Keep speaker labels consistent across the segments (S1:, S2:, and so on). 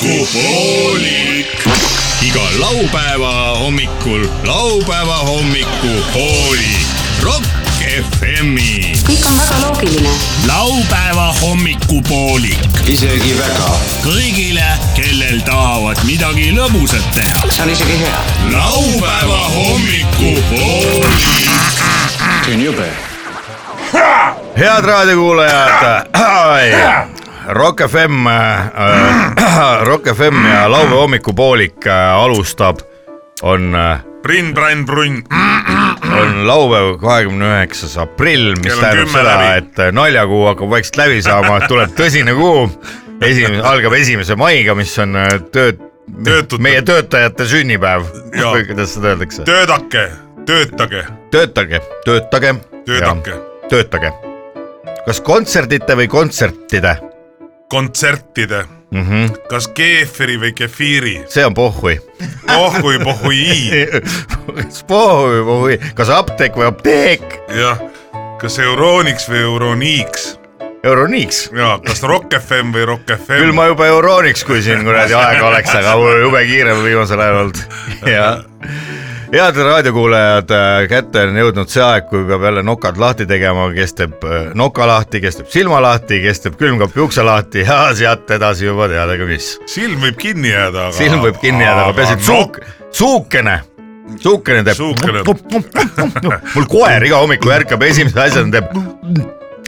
S1: hommikupoolik . iga laupäeva hommikul laupäeva hommikupoolik . Rock FM-i .
S2: kõik on väga loogiline .
S1: laupäeva hommikupoolik
S3: isegi väga .
S1: kõigile , kellel tahavad midagi lõbusat teha .
S3: see on isegi hea .
S1: laupäeva hommikupoolik .
S3: see on jube .
S4: head raadiokuulajad , Rock FM , Rock FM ja laupäeva hommikupoolik äh, alustab , on ,
S5: Brinn , Brann , Brunn ,
S4: on laupäev , kahekümne üheksas aprill , mis
S5: Kell on
S4: tähendab
S5: kümme
S4: seda ,
S5: läbi.
S4: et äh, naljakuu hakkab vaikselt läbi saama , tuleb tõsine kuu . esimene , algab esimese maiga , mis on äh, töö ,
S5: Töötute.
S4: meie töötajate sünnipäev
S5: Jaa.
S4: või kuidas seda öeldakse ,
S5: töödake , töötage ,
S4: töötage , töötage .
S5: Töötake. .
S4: töötage , kas kontserdite või kontsertide
S5: kontsertide ,
S4: mm ? -hmm
S5: kas keefiri või kefiiri ,
S4: see on pohhui .
S5: pohhui , pohhui ,
S4: kas pohhui , pohhui , kas apteek või apteek ?
S5: jah , kas eurooniks või euroniiks
S4: Euroniiks .
S5: ja kas Rock FM või Rock FM .
S4: küll ma juba Euroniiks , kui siin kuradi aega oleks , aga mul on jube kiire viimasel ajal olnud . ja , head raadiokuulajad , kätte on jõudnud see aeg , kui peab jälle nokad lahti tegema , kes teeb äh, noka lahti , kes teeb silma lahti , kes teeb külmkapi ukse lahti ja sealt edasi juba teadagi mis .
S5: silm võib kinni jääda , aga .
S4: silm võib kinni jääda , aga peaasi , et suuk , suukene , suukene
S5: Suukene.
S4: teeb . mul koer iga hommiku ärkab , esimese asjana teeb .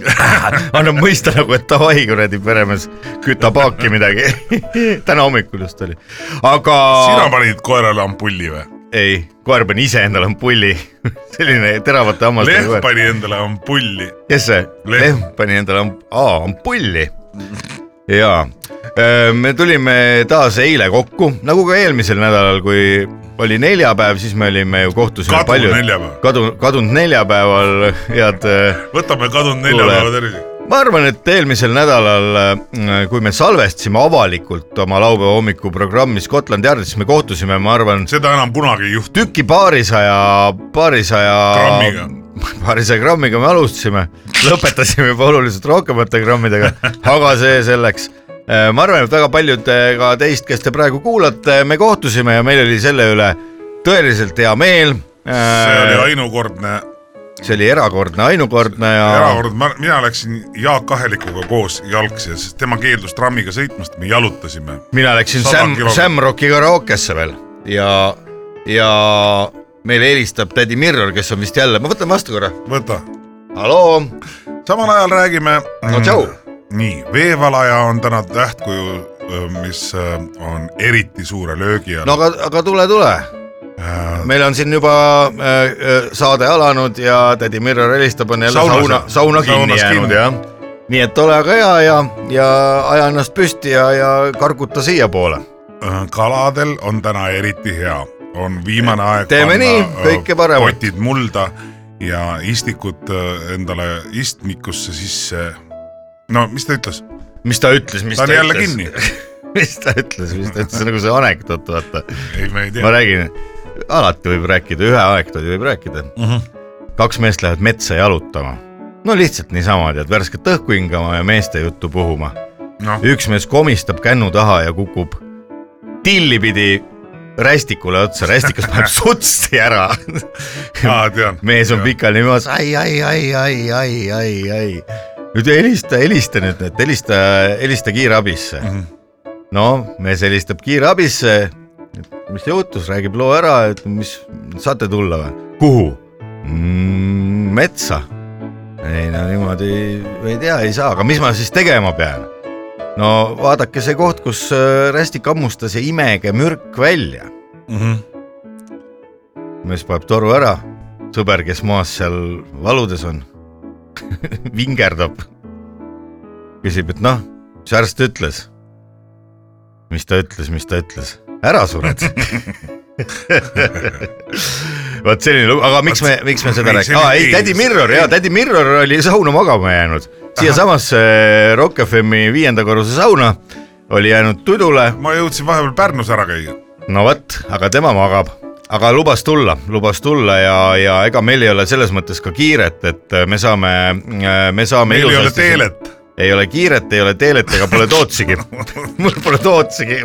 S4: annab mõista nagu , et davai kuradi peremees , küta paaki midagi . täna hommikul just oli , aga
S5: sina panid koerale ampulli või ?
S4: ei , koer pani ise endale ampulli , selline teravate hammastega
S5: Lehm
S4: koer .
S5: pani endale ampulli .
S4: kes see ?
S5: Lehm.
S4: Lehm pani endale amp- , aa ampulli . jaa , me tulime taas eile kokku , nagu ka eelmisel nädalal , kui oli neljapäev , siis me olime ju kohtusime
S5: Kadunud
S4: palju .
S5: neljapäev.
S4: kadunud , kadunud neljapäeval , head .
S5: võtame kadunud neljapäeva tervise .
S4: ma arvan , et eelmisel nädalal , kui me salvestasime avalikult oma laupäeva hommikuprogrammi Scotland Yardis , siis me kohtusime , ma arvan ,
S5: seda enam kunagi ei juhtu .
S4: tüki paarisaja , paarisaja .
S5: Grammiga.
S4: paarisaja grammiga me alustasime , lõpetasime juba oluliselt rohkemate grammidega , aga see selleks . ma arvan , et väga paljud eh, ka teist , kes te praegu kuulate , me kohtusime ja meil oli selle üle tõeliselt hea meel .
S5: see oli
S4: see
S5: ainukordne
S4: oli erakordne , ainukordne ja .
S5: erakord , ma , mina läksin Jaak Ahelikuga koos jalgsi , sest tema keeldus trammiga sõitmast , me jalutasime .
S4: mina läksin
S5: Sada
S4: Sam ,
S5: kilomeetrit.
S4: Samrocki karaokesse veel ja , ja meile helistab tädi Mirror , kes on vist jälle , ma võtan vastu korra .
S5: võta ,
S4: halloo ,
S5: samal ajal räägime .
S4: no tšau .
S5: nii , veevalaja on täna tähtkuju , mis äh, on eriti suure löögi all
S4: no
S5: no. .
S4: aga , aga tule , tule meil on siin juba äh, äh, saade alanud ja tädi Mirro helistab , on jälle
S5: Saunas,
S4: sauna ,
S5: jah.
S4: sauna kinni
S5: Saunas
S4: jäänud
S5: kinni.
S4: jah . nii et ole aga hea ja , ja aja ennast püsti ja , ja karguta siiapoole .
S5: kaladel on täna eriti hea , on viimane aeg .
S4: Teeme nii, kõike paremat.
S5: potid mulda ja istikud äh, endale istmikusse sisse . no mis ta ütles ,
S4: mis ta ütles , mis
S5: ta
S4: ta,
S5: on jälle
S4: ütles
S5: kinni ?.
S4: mis ta ütles , mis ta ütles , see on nagu see anekdoot , vaata .
S5: ei , me ei
S4: ma
S5: tea .
S4: räägin , alati võib rääkida , ühe anekdoodi võib rääkida mm . -hmm. kaks meest lähevad metsa jalutama . no lihtsalt niisama , tead , värsket õhku hingama ja meeste juttu puhuma
S5: noh ,
S4: üks mees komistab kännu taha ja kukub tilli pidi rästikule otsa , rästikas paneb sutsti ära .
S5: aa , tean .
S4: mees on pikali maas , ai , ai , ai , ai , ai , ai , ai . nüüd helista , helista nüüd , et helista , helista kiirabisse . no mees helistab kiirabisse , mis juhtus , räägib loo ära , et mis , saate tulla või ? kuhu mm, ? metsa . ei no niimoodi ei tea , ei saa , aga mis ma siis tegema pean ? no vaadake see koht , kus äh, rästik hammustas ja imege mürk välja . mees paneb toru ära , sõber , kes maas seal valudes on , vingerdab , küsib , et noh , mis arst ütles ? mis ta ütles , mis ta ütles , ära sured . vot selline lugu , aga miks me , miks me seda
S5: Ei,
S4: räägime ,
S5: see
S4: aa
S5: oli
S4: ei , tädi
S5: eelmine-
S4: Mirror ja tädi Mirror oli sauna magama jäänud , siiasamasse Rock FM-i viienda korruse sauna oli jäänud tudule
S5: ma jõudsin vahepeal Pärnus ära käia .
S4: no vot , aga tema magab , aga lubas tulla , lubas tulla ja , ja eh, ega meil ei ole selles mõttes ka kiiret , et eh, me saame , me saame .
S5: meil ei ole teelet .
S4: ei ole kiiret , ei ole teelet ega pole Tootsigi . mul pole Tootsigi .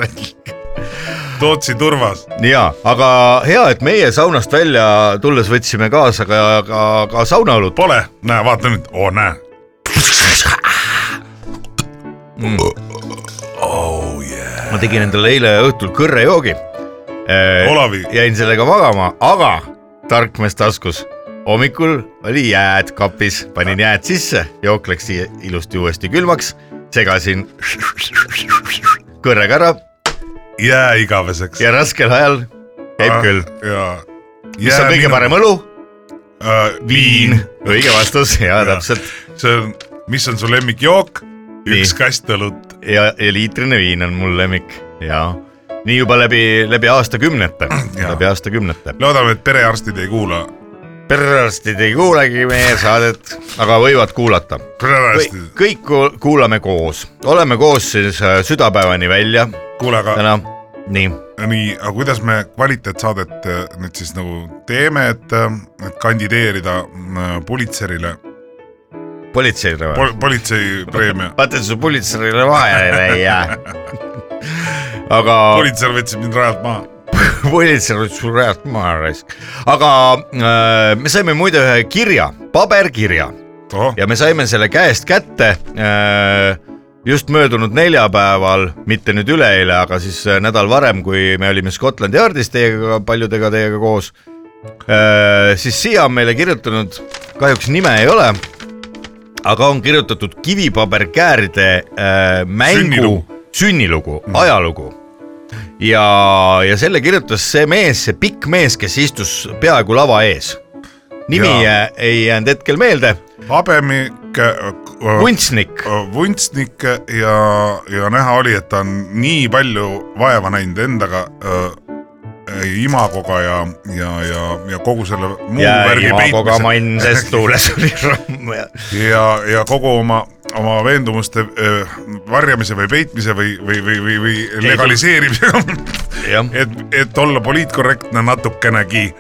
S5: Tootsi turvas .
S4: jaa , aga hea , et meie saunast välja tulles võtsime kaasa ka , ka , ka saunaõlut .
S5: Pole , näe , vaata nüüd , oo näe .
S4: ma tegin endale eile õhtul kõrrejoogi . Eh,
S5: Olavi ,
S4: jäin sellega magama , aga tark mees taskus . hommikul oli jääd kapis , panin jääd sisse , jook läks siia ilusti uuesti külmaks , segasin kõrrega ära
S5: jää igaveseks .
S4: ja raskel ajal käib küll .
S5: Ah, jaa .
S4: mis on kõige parem ? õlu ?
S5: viin .
S4: õige vastus ja täpselt
S5: see on , mis on su lemmikjook ? üks
S4: Nii.
S5: kast õlut .
S4: ja , ja liitrine viin on mul lemmik ja nii juba läbi , läbi aastakümnete ,
S5: Jaa.
S4: läbi aastakümnete .
S5: loodame , et perearstid ei kuula .
S4: perearstid ei kuulegi meie saadet , aga võivad kuulata
S5: perearstid ,
S4: kõik ku- kuulame koos , oleme koos siis äh, südapäevani välja
S5: kuule , aga
S4: täna . nii ,
S5: nii , aga kuidas me kvaliteetsaadet äh, nüüd siis nagu teeme , et , et kandideerida äh, Pulitserile
S4: politseile või ?
S5: Pol, , politseipreemia .
S4: vaata , su politseile vahele ei jää . aga
S5: politser võttis mind rajalt maha .
S4: politsei oli su realt maha raisk . aga äh, me saime muide ühe kirja , paberkirja
S5: tohoh ,
S4: ja me saime selle käest kätte äh, just möödunud neljapäeval , mitte nüüd üleeile , aga siis äh, nädal varem , kui me olime Scotland Yardis teiega , paljudega teiega koos äh, , siis siia on meile kirjutanud , kahjuks nime ei ole , aga on kirjutatud kivipaberkääride äh, mängu
S5: Sünnilugu. Mm.
S4: sünnilugu , ajalugu ja , ja selle kirjutas see mees , see pikk mees , kes istus peaaegu lava ees . nimi
S5: Jaa.
S4: jää, ei jäänud hetkel meelde
S5: habemik , äh,
S4: kunstnik ,
S5: vuntsnik ja , ja näha oli , et ta on nii palju vaeva näinud endaga äh, , imagoga ja , ja , ja , ja kogu selle muu
S4: ja
S5: värgi
S4: imagoga
S5: peitmise
S4: manses tuules oli ramm ja
S5: ja , ja kogu oma , oma veendumuste äh, varjamise või peitmise või , või , või , või , või legaliseerimisega
S4: jah ,
S5: et , et olla poliitkorrektne natukenegi .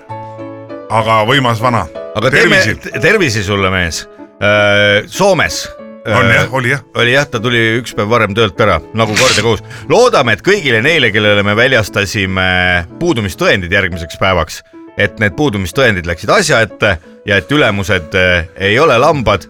S5: aga võimas vana .
S4: aga teeme
S5: tervisi .,
S4: tervisi sulle , mees . Soomes
S5: on jah , oli jah .
S4: oli jah , ta tuli üks päev varem töölt ära , nagu kord ja kohus . loodame , et kõigile neile , kellele me väljastasime puudumistõendid järgmiseks päevaks , et need puudumistõendid läksid asja ette ja et ülemused äh, ei ole lambad ,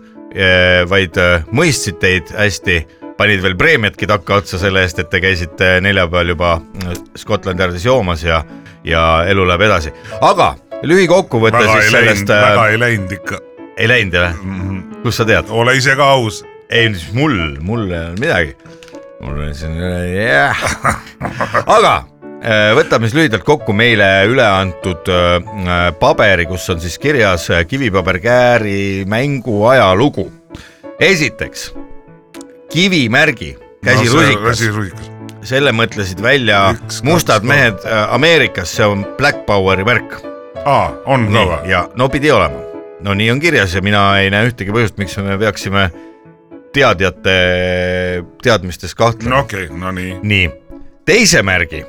S4: vaid äh, mõistsid teid hästi , panid veel preemiatki takkaotsa selle eest , et te käisite neljapäeval juba äh, Scotland Yardis joomas ja , ja elu läheb edasi . aga lühikokkuvõte
S5: väga ei
S4: siis
S5: läinud ,
S4: sellest eh, äh,
S5: väga , ei Mhm. läinud ikka .
S4: ei läinud jah ? kust sa tead ?
S5: ole ise ka aus .
S4: ei , mis mul , mul ei olnud midagi . mul oli siin , jah . aga äh, võtame siis lühidalt kokku meile üle antud äh, paberi , kus on siis kirjas äh, kivipaberkääri mängu ajalugu . esiteks kivimärgi , käsirusikas no, ,
S5: käsirusikas .
S4: selle mõtlesid välja
S5: Üks,
S4: üks,
S5: kaks,
S4: mustad
S5: kolm.
S4: kaks, mehed äh, Ameerikas , see on Black Poweri märk .
S5: aa , on ka või ?
S4: ja no pidi olema , no nii on kirjas ja mina ei näe ühtegi põhjust , miks me peaksime teadjate teadmistes kahtlema
S5: no
S4: no. .
S5: okei okay, , no nii .
S4: nii , teise märgi ,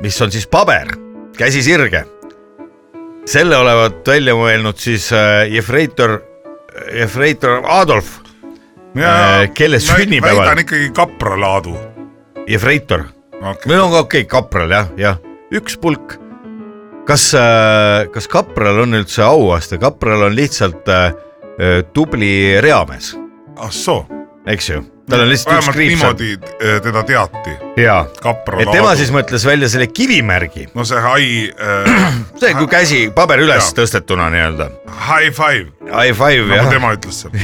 S4: mis on siis paber , käsi sirge , selle olevat välja mõelnud siis äh, Jefreitor , Jefreitor Adolf , Äh, kelle sünnipäeval?
S5: väidan ikkagi kapralaadu .
S4: Jefreitor ,
S5: okei ,
S4: või no okei okay, , kapral jah , jah , üks pulk . kas , kas kapral on üldse auaste , kapral on lihtsalt äh, äh, tubli reamees
S5: ah soo .
S4: eks ju , tal on lihtsalt üks
S5: vähemalt
S4: kriips on
S5: niimoodi eh, teda teati ,
S4: ja , et
S5: kapralaadu .
S4: tema siis mõtles välja selle kivimärgi ,
S5: no see hai äh, ,
S4: see kui käsi paber üles
S5: Jaa.
S4: tõstetuna nii-öelda ,
S5: high five ,
S4: high five
S5: nagu
S4: jah ,
S5: tema ütles seal .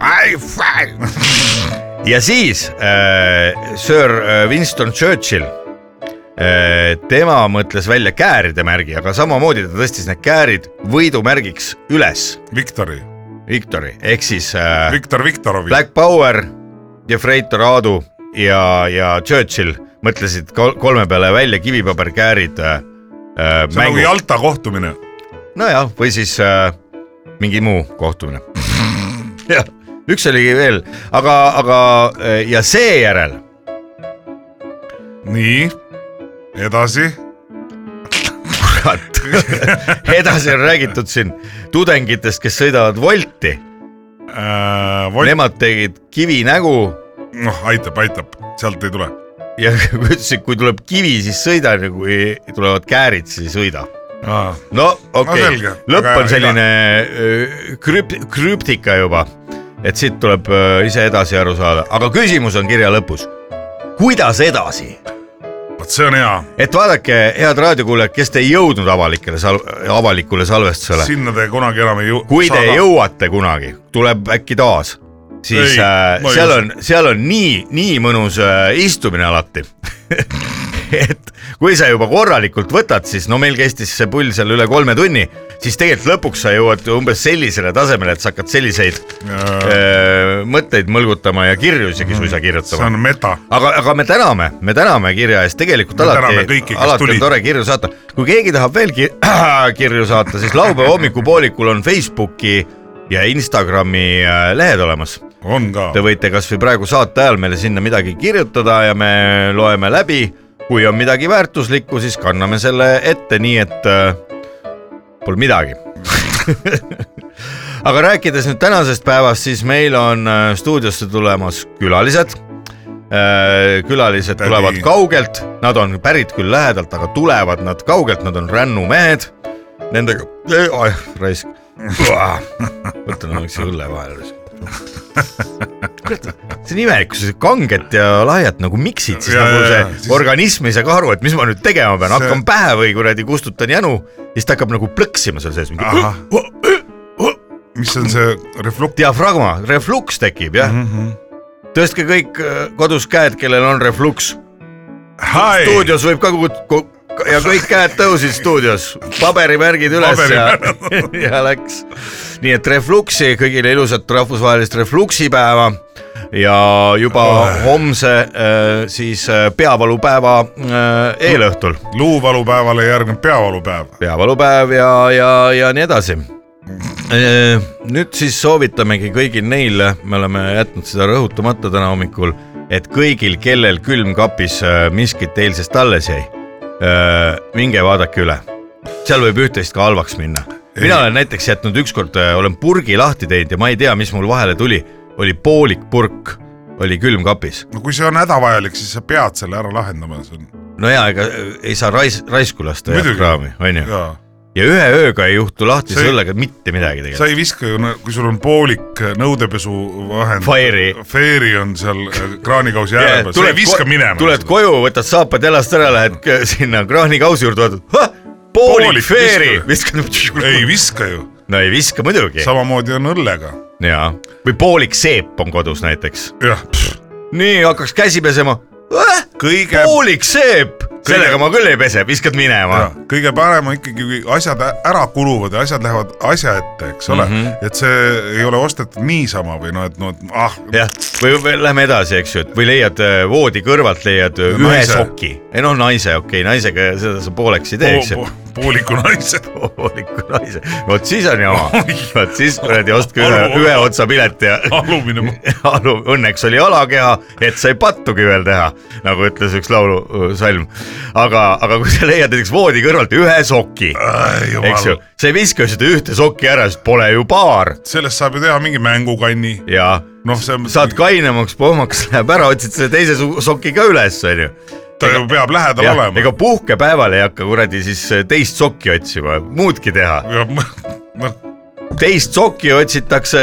S4: high five ja siis äh, Sir äh, Winston Churchill äh, tema mõtles välja kääride märgi , aga samamoodi ta tõstis need käärid võidumärgiks üles ,
S5: Viktori ,
S4: Victory ehk siis äh,
S5: Viktor Viktorovi .
S4: Black Power , Jefreitor Aadu ja , ja Churchill mõtlesid kol- kolme peale välja kivipaberkäärid äh, äh,
S5: see on nagu
S4: mängu ,
S5: Jalta kohtumine .
S4: nojah , või siis äh, mingi muu kohtumine . jah , üks oligi veel , aga , aga äh, ja seejärel
S5: nii , edasi ,
S4: kurat , edasi on räägitud siin tudengitest , kes sõidavad Wolti
S5: Volt ,
S4: nemad tegid kivinägu
S5: Äh, noh aitab , aitab , sealt ei tule .
S4: ja ütlesid , kui tuleb kivi , siis sõida ja kui tulevad käärid , siis ei sõida . no okei
S5: selge.
S4: okay. , lõpp
S5: Aga
S4: on selline öö, krüp- , krüptika juba , et siit tuleb öö, ise edasi aru saada , aga küsimus on kirja lõpus . kuidas edasi ?
S5: vot see on hea ,
S4: et vaadake , head raadiokuulajad , kes te ei jõudnud avalikele sal- , avalikule salvestusele ,
S5: sinna te kunagi enam ei jõu- .
S4: kui te . jõuate kunagi , tuleb äkki taas , siis
S5: Ei,
S4: ei, äh,
S5: ma ei
S4: seal
S5: usu.
S4: on , seal on nii , nii mõnus äh, istumine alati . et kui sa juba korralikult võtad , siis no meil kestis see pull seal üle kolme tunni , siis tegelikult lõpuks sa jõuad umbes sellisele tasemele , et sa hakkad selliseid äh, mõtteid mõlgutama ja kirju isegi suisa
S5: see
S4: kirjutama
S5: on meta ,
S4: aga , aga me täname , me täname kirja eest , tegelikult
S5: Me täname
S4: alati
S5: kõiki, , kes
S4: alati
S5: tulid.
S4: on tore kirju saata . kui keegi tahab veel ki kirju saata , siis laupäeva hommikupoolikul on Facebooki ja Instagrami äh, lehed olemas .
S5: on ka
S4: Te . võite kasvõi praegu saate ajal meile sinna midagi kirjutada ja me loeme läbi . kui on midagi väärtuslikku , siis kanname selle ette , nii et äh, pole midagi . aga rääkides nüüd tänasest päevast , siis meil on äh, stuudiosse tulemas külalised . külalised
S5: Tädi.
S4: tulevad kaugelt , nad on pärit küll lähedalt , aga tulevad nad kaugelt , nad on Rännu mehed . Nendega , raisk , võtan ühe õlle vahele see on imelik , kui sa kanget ja lahjat nagu miksid , siis
S5: Ja,
S4: ja, nagu
S5: ja,
S4: see
S5: ja,
S4: ja,
S5: siis-
S4: siis... organism ei saa ka aru , et mis ma nüüd tegema pean ,
S5: See-
S4: hakkan pähe või kuradi kustutan janu , siis ta hakkab nagu plõksima seal sees , mingi
S5: ahah , mis on see reflux ?
S4: diafragma , refluks tekib jah mm .
S5: Mhm,
S4: -hmm. tõstke kõik äh, kodus käed , kellel on refluks ,
S5: Hi ,
S4: stuudios võib ka kut- ku- ja kõik käed tõusid stuudios , paberimärgid üles
S5: Paberimärgid.
S4: ja , ja läks . nii et refluksi , kõigile ilusat rahvusvahelist refluksipäeva ja juba homse äh, siis äh, peavalupäeva äh, eelõhtul ,
S5: luuvalupäevale järgneb peavalupäev .
S4: peavalupäev ja , ja , ja nii edasi . nüüd siis soovitamegi kõigil neile , me oleme jätnud seda rõhutamata täna hommikul , et kõigil , kellel külmkapis äh, miskit eilsest alles jäi , minge vaadake üle , seal võib üht-teist ka halvaks minna . mina olen näiteks jätnud ükskord , olen purgi lahti teinud ja ma ei tea , mis mul vahele tuli , oli poolik purk , oli külmkapis .
S5: no kui see on hädavajalik , siis sa pead selle ära lahendama , see on
S4: no ja ega äh, ei saa rais- , raisku lasta jah,
S5: Muidugi.
S4: kraami , onju .
S5: jaa .
S4: ja ühe ööga ei juhtu lahtise
S5: See-
S4: õllega mitte midagi
S5: sa
S4: tegelikult .
S5: ei viska ju , kui sul on poolik nõudepesuvahend .
S4: Fire'i.
S5: Fire'i on seal äh, kraanikausi ääre peal , sa ei viska minema .
S4: tuled koju , võtad saapad jalast ära , lähed k- sinna kraanikausi juurde , vaatad ,
S5: Poolik
S4: poolik feeri , viskad .
S5: ei viska ju ,
S4: no ei viska muidugi .
S5: samamoodi on õllega .
S4: jaa , või poolik seep on kodus näiteks .
S5: jah ,
S4: nii , hakkaks käsi pesema .
S5: Kõige-
S4: poolik seep , sellega ma küll ei pese , viskad minema .
S5: kõige parem on ikkagi , kui asjad ä- ära kuluvad ja asjad lähevad asja ette , eks ole mm ,
S4: Mhm.
S5: -hmm. et see ei ole ostetud niisama või noh , et noh , et ah ,
S4: jah , või või lähme edasi , eks ju , et või leiad äh, voodi kõrvalt leiad äh,
S5: No
S4: ühe
S5: naise.
S4: soki , ei noh , naise , okei okay, , naisega seda sa pooleks ei tee , eks ju
S5: po- . po- pooliku naise .
S4: hooliku naise , vot siis on jama
S5: Oi. ,
S4: vot siis kuradi ostke ühe
S5: Alu- ,
S4: ühe otsa pilet ja
S5: alumine ma-
S4: alu , õnneks oli jalakeha , et sai pattugi veel teha , nagu ütles üks laulusalm . aga , aga kui sa leiad näiteks voodi kõrvalt ühe soki ,
S5: Ai, jumal.
S4: eks ju , sa ei viska ju seda ühte sokki ära , sest pole ju paar
S5: sellest saab ju teha mingi mängukanni ,
S4: ja
S5: noh , see on ,
S4: saad kainemaks , pohmaks läheb ära , otsid selle teise su- soki ka üles , onju
S5: ta ju peab lähedal
S4: jah ,
S5: olema .
S4: ega puhkepäeval ei hakka kuradi siis teist sokki otsima , muudki teha .
S5: noh ,
S4: teist sokki otsitakse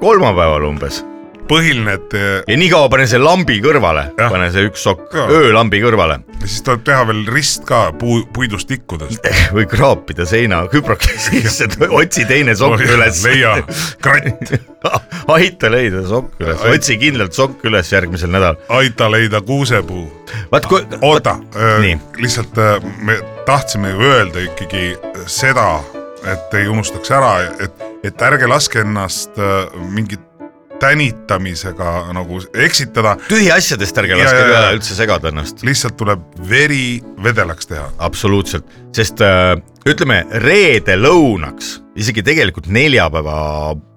S4: kolmapäeval umbes
S5: põhiline , et eh,
S4: ja niikaua pane see lambi kõrvale ,
S5: Jah.
S4: pane see üks sokk
S5: Jaa.
S4: öölambi kõrvale
S5: siis tuleb teha veel rist ka puu , puidust tikkudest .
S4: või kraapida seina küproki sisse , otsi teine sokk üles .
S5: leia kratt ,
S4: aita leida sokk üles ,
S5: Ai-
S4: otsi kindlalt sokk üles järgmisel nädalal .
S5: aita leida kuusepuu .
S4: vaat kui ,
S5: Ah, oota ,
S4: Nii.
S5: lihtsalt eh, me tahtsime ju öelda ikkagi seda , et ei unustaks ära , et , et ärge laske ennast eh, mingi tänitamisega nagu eksitada ,
S4: tühi asjadest ärge
S5: Jaa,
S4: laske
S5: jaa, jaa.
S4: üle- üldse segada ennast .
S5: lihtsalt tuleb veri vedelaks teha .
S4: absoluutselt , sest äh, ütleme reede lõunaks , isegi tegelikult neljapäeva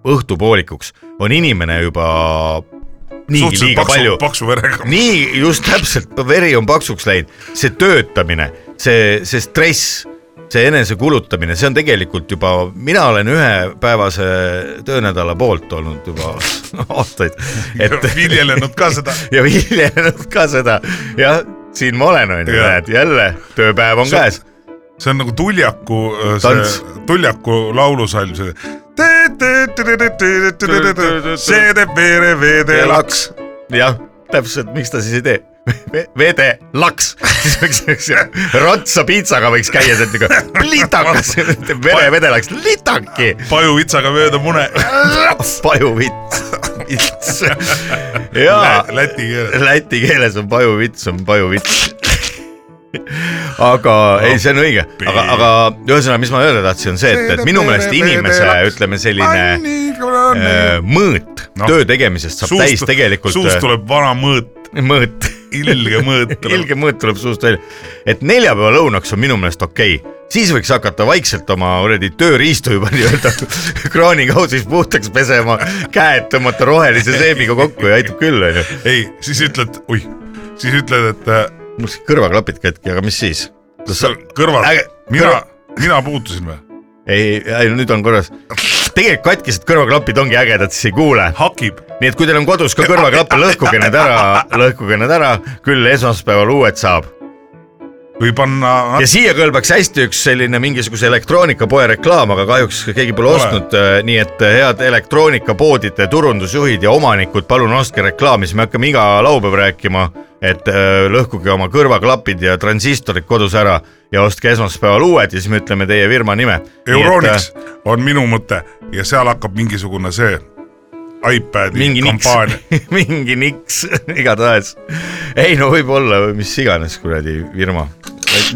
S4: õhtupoolikuks on inimene juba niigi
S5: suhteliselt
S4: liiga
S5: paksu
S4: palju ,,
S5: paksu verega .
S4: nii just täpselt , veri on paksuks läinud , see töötamine , see , see stress , see enesekulutamine , see on tegelikult juba , mina olen ühepäevase töönädala poolt olnud juba aastaid , et
S5: viljelenud ka seda .
S4: ja viljelenud ka seda ja siin ma olen , onju ,
S5: Jah.
S4: näed jälle tööpäev on
S5: See-
S4: käes .
S5: see on nagu Tuljaku ,
S4: Tants.
S5: see Tuljaku laulusalm , see . see teeb veere veedelaks .
S4: jah , täpselt , miks ta siis ei tee Ve- vede laks , siis võiks siukse rontsa piitsaga võiks käia sealt nagu litakas , vere vedelaks litaki ,
S5: pajuvitsaga mööda mune .
S4: pajuvits , vits ja
S5: Läti keeles .
S4: läti keeles on pajuvits on pajuvits . aga ei , see on õige , aga , aga ühesõnaga , mis ma öelda tahtsin , on see , et , et minu meelest inimese , ütleme selline äh, mõõt
S5: Noh.
S4: töö tegemisest saab täis tegelikult
S5: suust tuleb vana mõõt ,
S4: äh, mõõt ,
S5: ilge mõõt tuleb .
S4: ilge mõõt tuleb suust välja . et neljapäeva lõunaks on minu meelest okei okay. siis võiks hakata vaikselt oma kuradi tööriistu juba nii-öelda kraanikausis puhtaks pesema , käed tõmmata rohelise seebiga kokku ja aitab küll , onju .
S5: ei , siis ütled , oih , siis ütled , et äh,
S4: mul siin kõrvaklapid katki , aga mis siis ? kas sa
S5: sa- , kõrval
S4: Äge- ,
S5: mina , mina puutusin või ?
S4: ei , ei no nüüd on korras . tegelikult katkised kõrvaklapid ongi ägedad , siis ei kuule .
S5: hakib ,
S4: nii et kui teil on kodus ka kõrvaklappe , lõhkuge need ära , lõhkuge need ära , küll esmaspäeval uued saab .
S5: või panna
S4: ja siia kõlbaks hästi üks selline mingisuguse elektroonikapoe reklaam , aga kahjuks keegi pole
S5: Ole.
S4: ostnud , nii et äh, head elektroonikapoodide turundusjuhid ja omanikud , palun ostke reklaami , siis me hakkame iga laupäev rääkima , et äh, lõhkuge oma kõrvaklapid ja transistorid kodus ära ja ostke esmaspäeval uued ja siis me ütleme teie firma nime .
S5: Euronics
S4: äh,
S5: on minu mõte ja seal hakkab mingisugune see iPadi
S4: äh, mingi niks
S5: kampaania .
S4: mingi niks , igatahes . ei no võib-olla või mis iganes kuradi firma .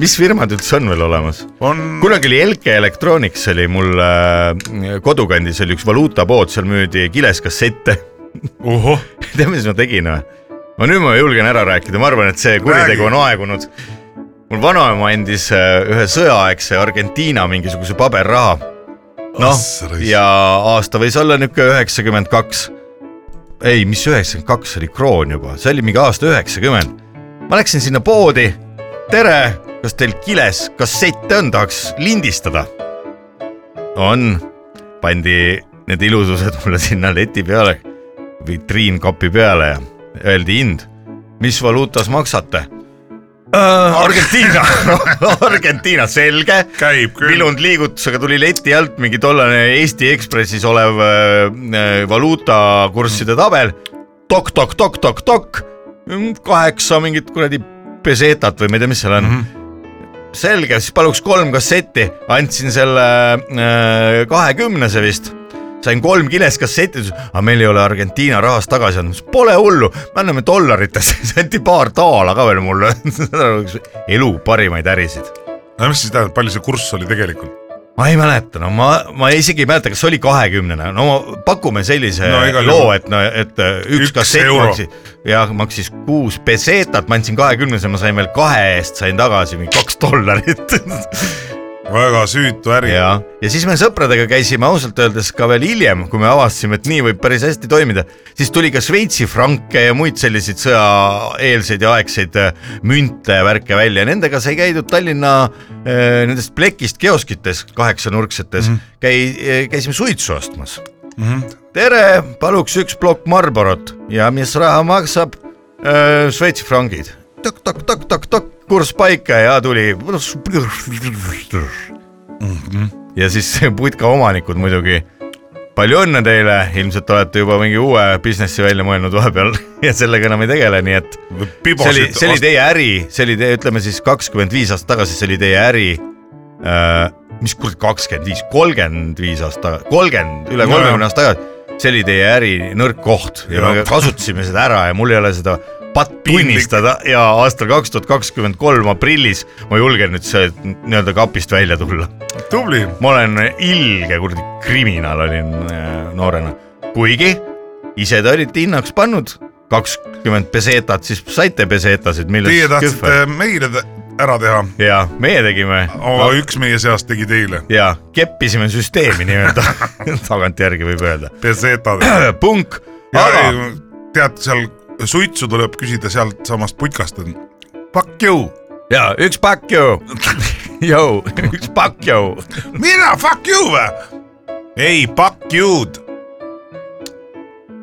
S4: mis firmad üldse on veel olemas ?
S5: on
S4: kunagi oli Elke Electronics oli mul äh, kodukandis oli üks valuutapood , seal müüdi kileskassette .
S5: ohoh ,
S4: tead , mis ma tegin või ? ma nüüd ma julgen ära rääkida , ma arvan , et see kuritegu
S5: Räägi.
S4: on aegunud . mul vanaema andis äh, ühe sõjaaegse Argentiina mingisuguse paberraha . noh
S5: Ah, , raisk.
S4: ja aasta võis olla niisugune üheksakümmend kaks . ei , mis üheksakümmend kaks oli kroon juba , see oli mingi aasta üheksakümmend . ma läksin sinna poodi . tere , kas teil kiles kassette on , tahaks lindistada ? on , pandi need ilusused mulle sinna leti peale , vitriinkapi peale ja öeldi hind , mis valuutas maksate ? Argentiina , Argentiina , selge
S5: käib küll ,
S4: vilund liigutusega tuli leti alt mingi tollane Eesti Ekspressis olev äh, valuutakursside tabel tok, . tokk-tokk-tokk-tokk-tokk , kaheksa mingit kuradi pesetat või ma ei tea , mis seal on mm . -hmm. selge , siis paluks kolm kassetti , andsin selle kahekümnese vist sain kolm kiles kasseti , aga meil ei ole Argentiina rahast tagasi andnud , pole hullu , me anname dollaritesse , siis anti paar daala ka veel mulle , elu parimaid ärisid .
S5: no mis siis tähendab , palju see kurss oli tegelikult ?
S4: ma ei mäleta , no ma , ma isegi ei mäleta , kas see oli kahekümnene , no pakume sellise
S5: No
S4: no,
S5: igal
S4: loo ,
S5: juhul.
S4: et no , et äh, üks,
S5: Üks
S4: üks kassett
S5: euro.
S4: maksis , jah , maksis kuus pesetat , ma andsin kahekümnese , ma sain veel kahe eest sain tagasi mingi kaks dollarit .
S5: väga süütu äri .
S4: ja , ja siis me sõpradega käisime ausalt öeldes ka veel hiljem , kui me avastasime , et nii võib päris hästi toimida , siis tuli ka Šveitsi franke ja muid selliseid sõjaeelseid ja aegseid äh, münte ja värke välja , nendega sai käidud Tallinna äh, nendest plekist kioskites , kaheksanurksetes mm , -hmm. käi- , käisime suitsu ostmas
S5: Mm -hmm.
S4: tere , paluks üks plokk Marborot ja mis raha maksab äh, ? Šveitsi frangid . tokk-tokk-tokk-tokk-tokk , kurss paika ja tuli . ja siis putka omanikud muidugi . palju õnne teile , ilmselt olete juba mingi uue businessi välja mõelnud vahepeal ja sellega enam ei tegele , nii et see oli , see oli teie äri , see oli teie , ütleme siis kakskümmend viis aastat tagasi , see oli teie äri äh, . mis kurat , kakskümmend viis , kolmkümmend viis aasta , kolmkümmend , üle
S5: No
S4: kolmekümne
S5: jah.
S4: aasta tagasi . see oli teie äri nõrk koht ja me
S5: Jah.
S4: kasutasime seda ära ja mul ei ole seda patt tunnistada ja aastal kaks tuhat kakskümmend kolm aprillis ma julgen nüüd see nii-öelda kapist välja tulla .
S5: tubli ,
S4: ma olen ilge kuradi kriminaal olin äh, noorena , kuigi ise te olite hinnaks pannud kakskümmend pesetat , siis saite pesetasid ,
S5: teie
S4: millest kühver
S5: tahtsite meile tä- ära teha ,
S4: ja meie tegime
S5: aga üks meie seast tegi teile .
S4: ja keppisime süsteemi nii-öelda tagantjärgi võib öelda ,
S5: Pesetad .
S4: punk , aga
S5: tead , seal suitsu tuleb küsida sealtsamast putkast , et fuck you
S4: ja üks pakk ju . jõu , üks pakk jõu .
S5: mina , fuck you vä ? ei , fuck you'd .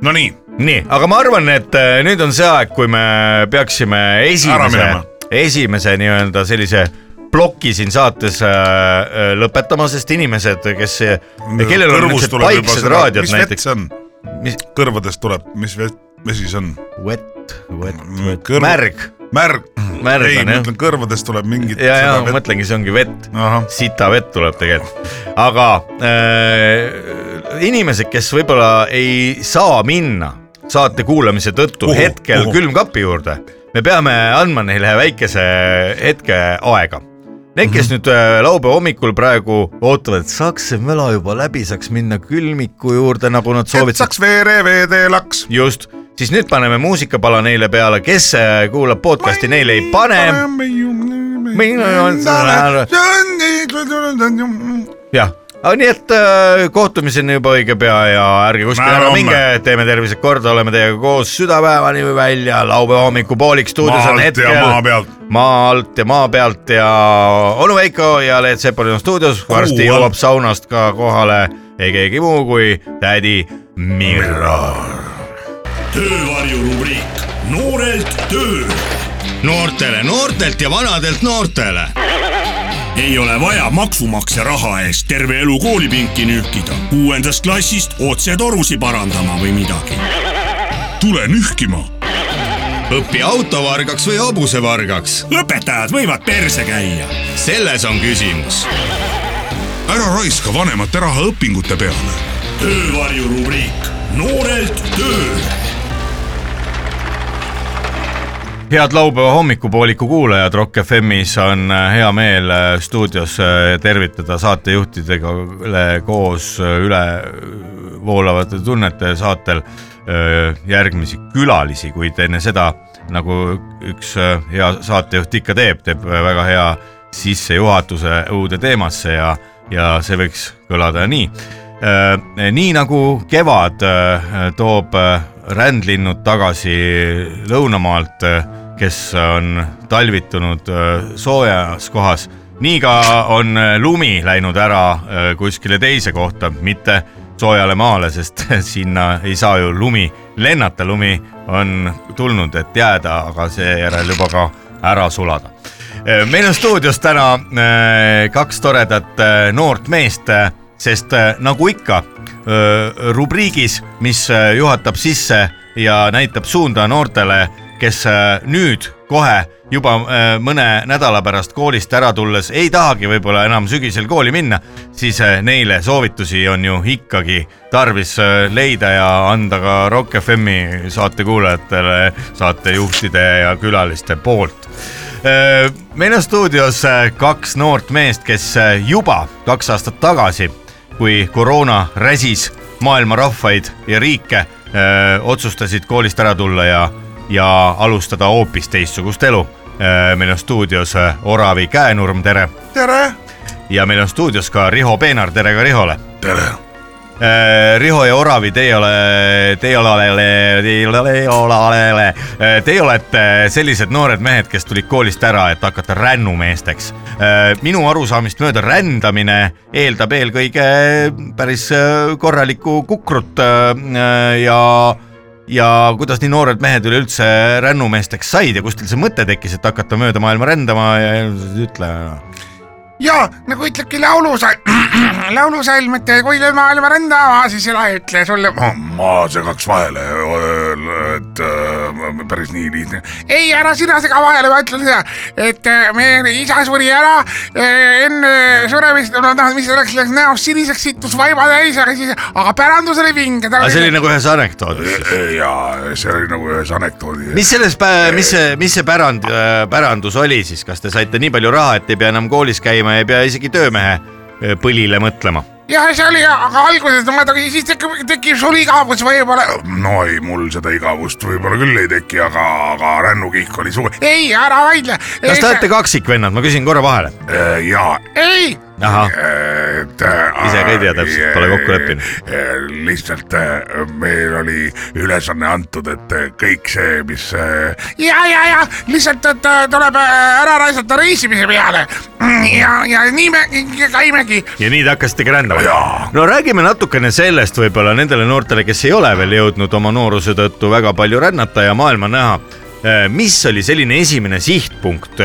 S5: Nonii ,
S4: nii , aga ma arvan , et äh, nüüd on see aeg , kui me peaksime
S5: Ära
S4: esimese
S5: minema. ,
S4: esimese nii-öelda sellise ploki siin saates äh, äh, lõpetama , sest inimesed , kes , kellel on niisugused paiksed raadiod
S5: mis vett
S4: näiteks ,
S5: see on ,
S4: mis
S5: kõrvadest tuleb , mis vett , vesi see on ?
S4: wet , wet , wet ,
S5: Kõrv-
S4: märg .
S5: märg .
S4: Märg
S5: ei ,
S4: on,
S5: ma
S4: jah.
S5: ütlen , kõrvadest tuleb mingit .
S4: ja , ja ma . mõtlengi , see ongi vett
S5: ahah ,
S4: sita vett tuleb tegelikult , aga äh, inimesed , kes võib-olla ei saa minna saate kuulamise tõttu
S5: Kuhu?
S4: kuhu, hetkel
S5: Kuhu?
S4: kuhu? külmkapi juurde , me peame andma neile väikese hetke aega . Need , kes nüüd äh, laupäeva hommikul praegu ootavad , et saaks see möla juba läbi , saaks minna külmiku juurde , nagu nad
S5: et
S4: soovitasid ,
S5: saaks veere , veeteelaks .
S4: just , siis nüüd paneme muusikapala neile peale , kes äh, kuulab podcast'i , neile ei pane , jah , aga nii , et äh, kohtumiseni juba õige pea ja ärge kuskile
S5: Näeme
S4: ära
S5: homme.
S4: minge , teeme tervised korda , oleme teiega koos südapäevani või välja , laupäeva hommikupoolik stuudios on
S5: maalt ja
S4: hetkel
S5: maa pealt .
S4: maa alt ja maa pealt ja onu Veiko ja Leet Sepolin on stuudios , varsti
S5: alt.
S4: jõuab saunast ka kohale ei keegi muu kui tädi Mirro .
S1: töövarjurubriik Noorelt tööle . noortele noortelt ja vanadelt noortele . ei ole vaja maksumaksja raha eest terve elu koolipinki nühkida , kuuendast klassist otse torusi parandama või midagi . tule nühkima .
S2: õpi autovargaks või hobusevargaks ,
S1: õpetajad võivad perse käia .
S2: selles on küsimus .
S5: ära raiska vanemate raha õpingute peale .
S1: töövarjurubriik Noorelt tööle .
S4: head laupäeva hommikupooliku kuulajad , Rock FM-is on äh, hea meel äh, stuudios äh, tervitada saatejuhtidega üle- koos äh, üle voolavate tunnete saatel äh, järgmisi külalisi , kuid enne seda , nagu üks äh, hea saatejuht ikka teeb , teeb äh, väga hea sissejuhatuse uude teemasse ja , ja see võiks kõlada nii . nii nagu kevad äh, toob äh, rändlinnud tagasi lõunamaalt , kes on talvitunud äh, soojas kohas , nii ka on äh, lumi läinud ära äh, kuskile teise kohta , mitte soojale maale , sest sinna ei saa ju lumi lennata , lumi on tulnud , et jääda , aga seejärel juba ka ära sulada Äh, meil on stuudios täna äh, kaks toredat äh, noort meest , sest äh, nagu ikka äh, rubriigis , mis äh, juhatab sisse ja näitab suunda noortele , kes äh, nüüd kohe juba äh, mõne nädala pärast koolist ära tulles ei tahagi võib-olla enam sügisel kooli minna , siis äh, neile soovitusi on ju ikkagi tarvis äh, leida ja anda ka Rock FM-i saatekuulajatele , saatejuhtide ja külaliste poolt meil on stuudios äh, kaks noort meest , kes äh, juba kaks aastat tagasi , kui koroona räsis maailma rahvaid ja riike , otsustasid koolist ära tulla ja , ja alustada hoopis teistsugust elu . meil on stuudios äh, Oravi Käenurm , tere .
S5: tere .
S4: ja meil on stuudios ka Riho Peenar , tere ka Rihole .
S5: tere .
S4: Eh, Riho ja Oravi , teie ole , teie ole , teie ole , teie olete sellised noored mehed , kes tulid koolist ära , et hakata rännumeesteks . minu arusaamist mööda rändamine eeldab eelkõige päris äh, korralikku kukrut äh, ja , ja kuidas nii noored mehed üleüldse rännumeesteks said ja kust teil see mõte tekkis , et hakata mööda maailma rändama ja ütle .
S6: ja nagu ütlebki laulusal- , laulusalm , et kui lööme maailma rändama , siis ela ei ütle sulle .
S5: ma Oh, segaks vahele , et äh, päris nii lihtne .
S6: ei , ära sina sega vahele , ma ütlen seda , et äh, meie isa suri ära äh, enne suremist , no noh , mis läks , läks näost siniseks , sittus vaiba täis , aga siis , aga pärandus oli vinge .
S4: aga see oli nagu ühes anekdoodis .
S5: ja see oli nagu ühes anekdoodis .
S4: mis selles , mis see , mis see pärand , pärandus oli siis , kas te saite nii palju raha , et ei pea enam koolis käima , ei pea isegi töömehe äh, põlile mõtlema ?
S6: jah , see oli , aga alguses , no ma ei tea , siis tekib , tekib sul igavus võib-olla .
S5: no ei , mul seda igavust võib-olla küll ei teki , aga , aga rännukihk oli suur
S6: ei , ära vaidle .
S4: kas te olete kaksikvennad , ma küsin korra vahele .
S5: Äh, ja äh,
S6: ei ,
S4: ahah ,
S6: et .
S4: ise ka ei tea täpselt , pole kokku leppinud .
S6: lihtsalt äh, meil oli ülesanne antud , et äh, kõik see , mis .
S5: äh,
S6: ja , ja , ja lihtsalt , et äh, tuleb äh, ära raisata reisimise
S5: äh,
S6: peale . ja , ja nii me käimegi .
S4: ja nii te hakkasite krändama . no räägime natukene sellest võib-olla nendele noortele , kes ei ole veel jõudnud oma nooruse tõttu väga palju rännata ja maailma näha . mis oli selline esimene sihtpunkt ,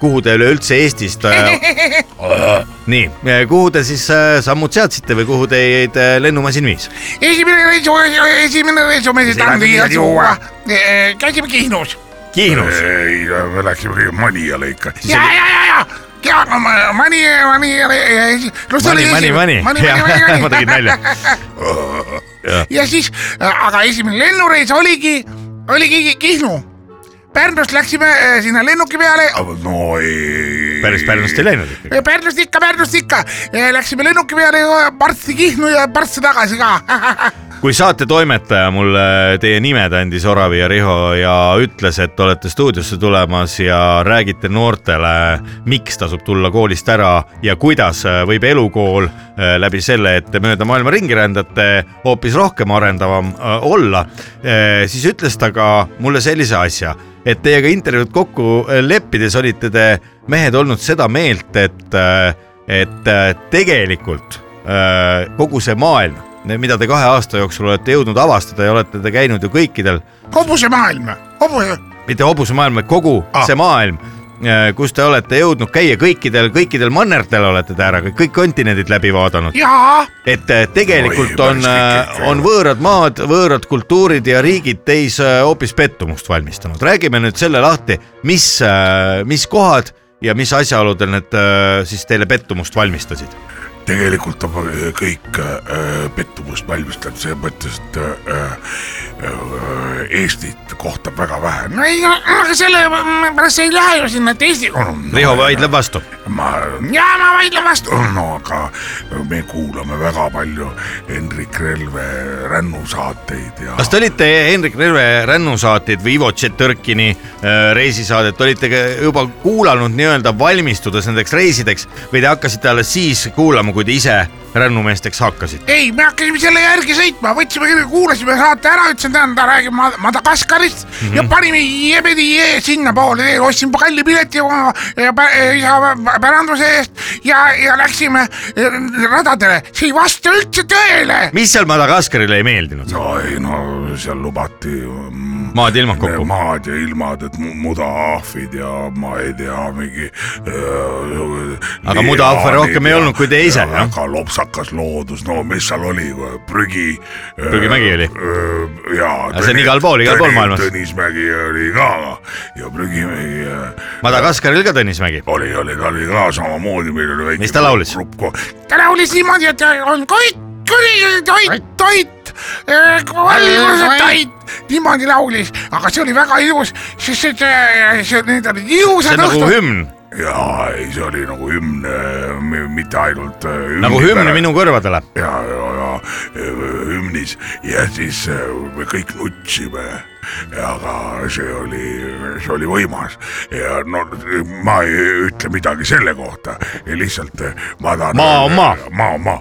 S4: kuhu te üleüldse Eestist , nii , kuhu te siis äh, sammud seadsite või kuhu teid äh, lennumasin viis ?
S6: esimene reis , esimene reis , me siis
S4: Seda
S6: tahame
S4: pidid juua.
S6: juua . eh, käisime Kihnus .
S4: Kihnus ,
S5: ei , me läksime kõige Maniale ikka .
S6: ja , ja , ja , ja , ja no, ma- mani , mani , no see
S4: Mani ,
S6: oli
S4: Mani , Mani ,
S6: mani ,
S4: ma
S6: mani ,
S4: tegin
S6: mani ,
S4: nalja .
S6: ja siis , aga esimene lennureis oligi , oligi Kihnu . Pärnust läksime äh, sinna lennuki peale ,
S5: no ei .
S4: päris Pärnust ei läinud ikkagi .
S6: Pärnust ikka , Pärnust ikka , läksime lennuki peale , partsi Kihnu ja partsi tagasi ka .
S4: kui saatetoimetaja mulle teie nimed andis , Oravi ja Riho , ja ütles , et olete stuudiosse tulemas ja räägite noortele , miks tasub tulla koolist ära ja kuidas võib elukool äh, läbi selle , et te mööda maailma ringi rändate , hoopis rohkem arendavam äh, olla , siis ütles ta ka mulle sellise asja , et teiega intervjuud kokku äh, leppides olite te mehed olnud seda meelt , et , et äh, tegelikult Äh, kogu see maailm , mida te kahe aasta jooksul olete jõudnud avastada ja olete te käinud ju kõikidel ,
S6: hobusemaailm , hobuse ,
S4: mitte hobusemaailm , vaid kogu ah.
S6: Ah.
S4: see maailm , kus te olete jõudnud käia kõikidel , kõikidel mannertel olete te ära , kõik kontinendid läbi vaadanud ,
S6: jaa ,
S4: et äh, tegelikult
S5: Oi,
S4: on äh,
S5: päris pikk , ikka.
S4: on võõrad maad , võõrad kultuurid ja riigid teis äh, hoopis pettumust valmistanud . räägime nüüd selle lahti , mis , mis kohad ja mis asjaoludel need äh, siis teile pettumust valmistasid ?
S5: tegelikult on äh, kõik äh, pettumust valmistav selles mõttes , et äh, äh, Eestit kohtab väga vähe .
S6: no ei , aga selle pärast sa ei lähe ju sinna teisi ,
S4: Riho vaidleb vastu
S5: Oh, ma ,
S6: jaa , ma vaidlen vastu .
S5: no aga me kuulame väga palju Hendrik Relve rännusaateid ja
S4: kas te olite Hendrik Relve rännusaateid või Ivo Tšetõrkini äh, reisisaadet , olite ka juba kuulanud nii-öelda valmistudes nendeks reisideks või te hakkasite alles siis kuulama , kui te ise rännumeesteks hakkasite ?
S6: ei , me hakkasime selle järgi sõitma , võtsime , kuulasime saate ära , ütlesin , tähendab , ta räägib Mad- Madagaskarist mm -hmm. ja
S4: Mhm.
S6: panime jebedi jee sinnapoole teele , ostsime kalli pileti oma ja pä- isa pä- päranduse eest ja , ja läksime eh, radadele , see ei vasta üldse tõele .
S4: mis seal Madagaskarile ei meeldinud ?
S5: no ei no seal lubati mm,
S4: maad ilmad kokku .
S5: maad ja ilmad , et mu- mudaahvid ja ma ei tea , mingi .
S4: Aga mudaahve rohkem ei olnud, kui te ise, jah?
S5: väga lopsakas loodus , no mis seal oli , prügi .
S4: Prügimägi oli. .
S5: jaa .
S4: Aga see on igal pool, igal pool maailmas.
S5: Tõnismägi oli ka ja prügimägi äh,
S4: Madagaskaril ka Tõnis Mägi .
S5: oli , oli , ta oli ka samamoodi , meil oli väike .
S4: Mis ta laulis?
S6: ta laulis niimoodi , et on koit , koit , toit , toit , valgus , toit , niimoodi laulis , aga see oli väga ilus , sest et eh, see , need olid
S4: see
S6: ilusad
S4: on nagu hümn ,
S5: jaa , ei , see oli nagu hümn , mitte ainult . äh,
S4: nagu hümn . minu kõrvadele .
S5: ja , ja , ja äh, hümnis ja siis äh, me kõik nutsime . aga see oli , see oli võimas ja no ma ei ütle midagi selle kohta , lihtsalt äh, ma tahan .
S4: Maa on maa.
S5: maa on maa ,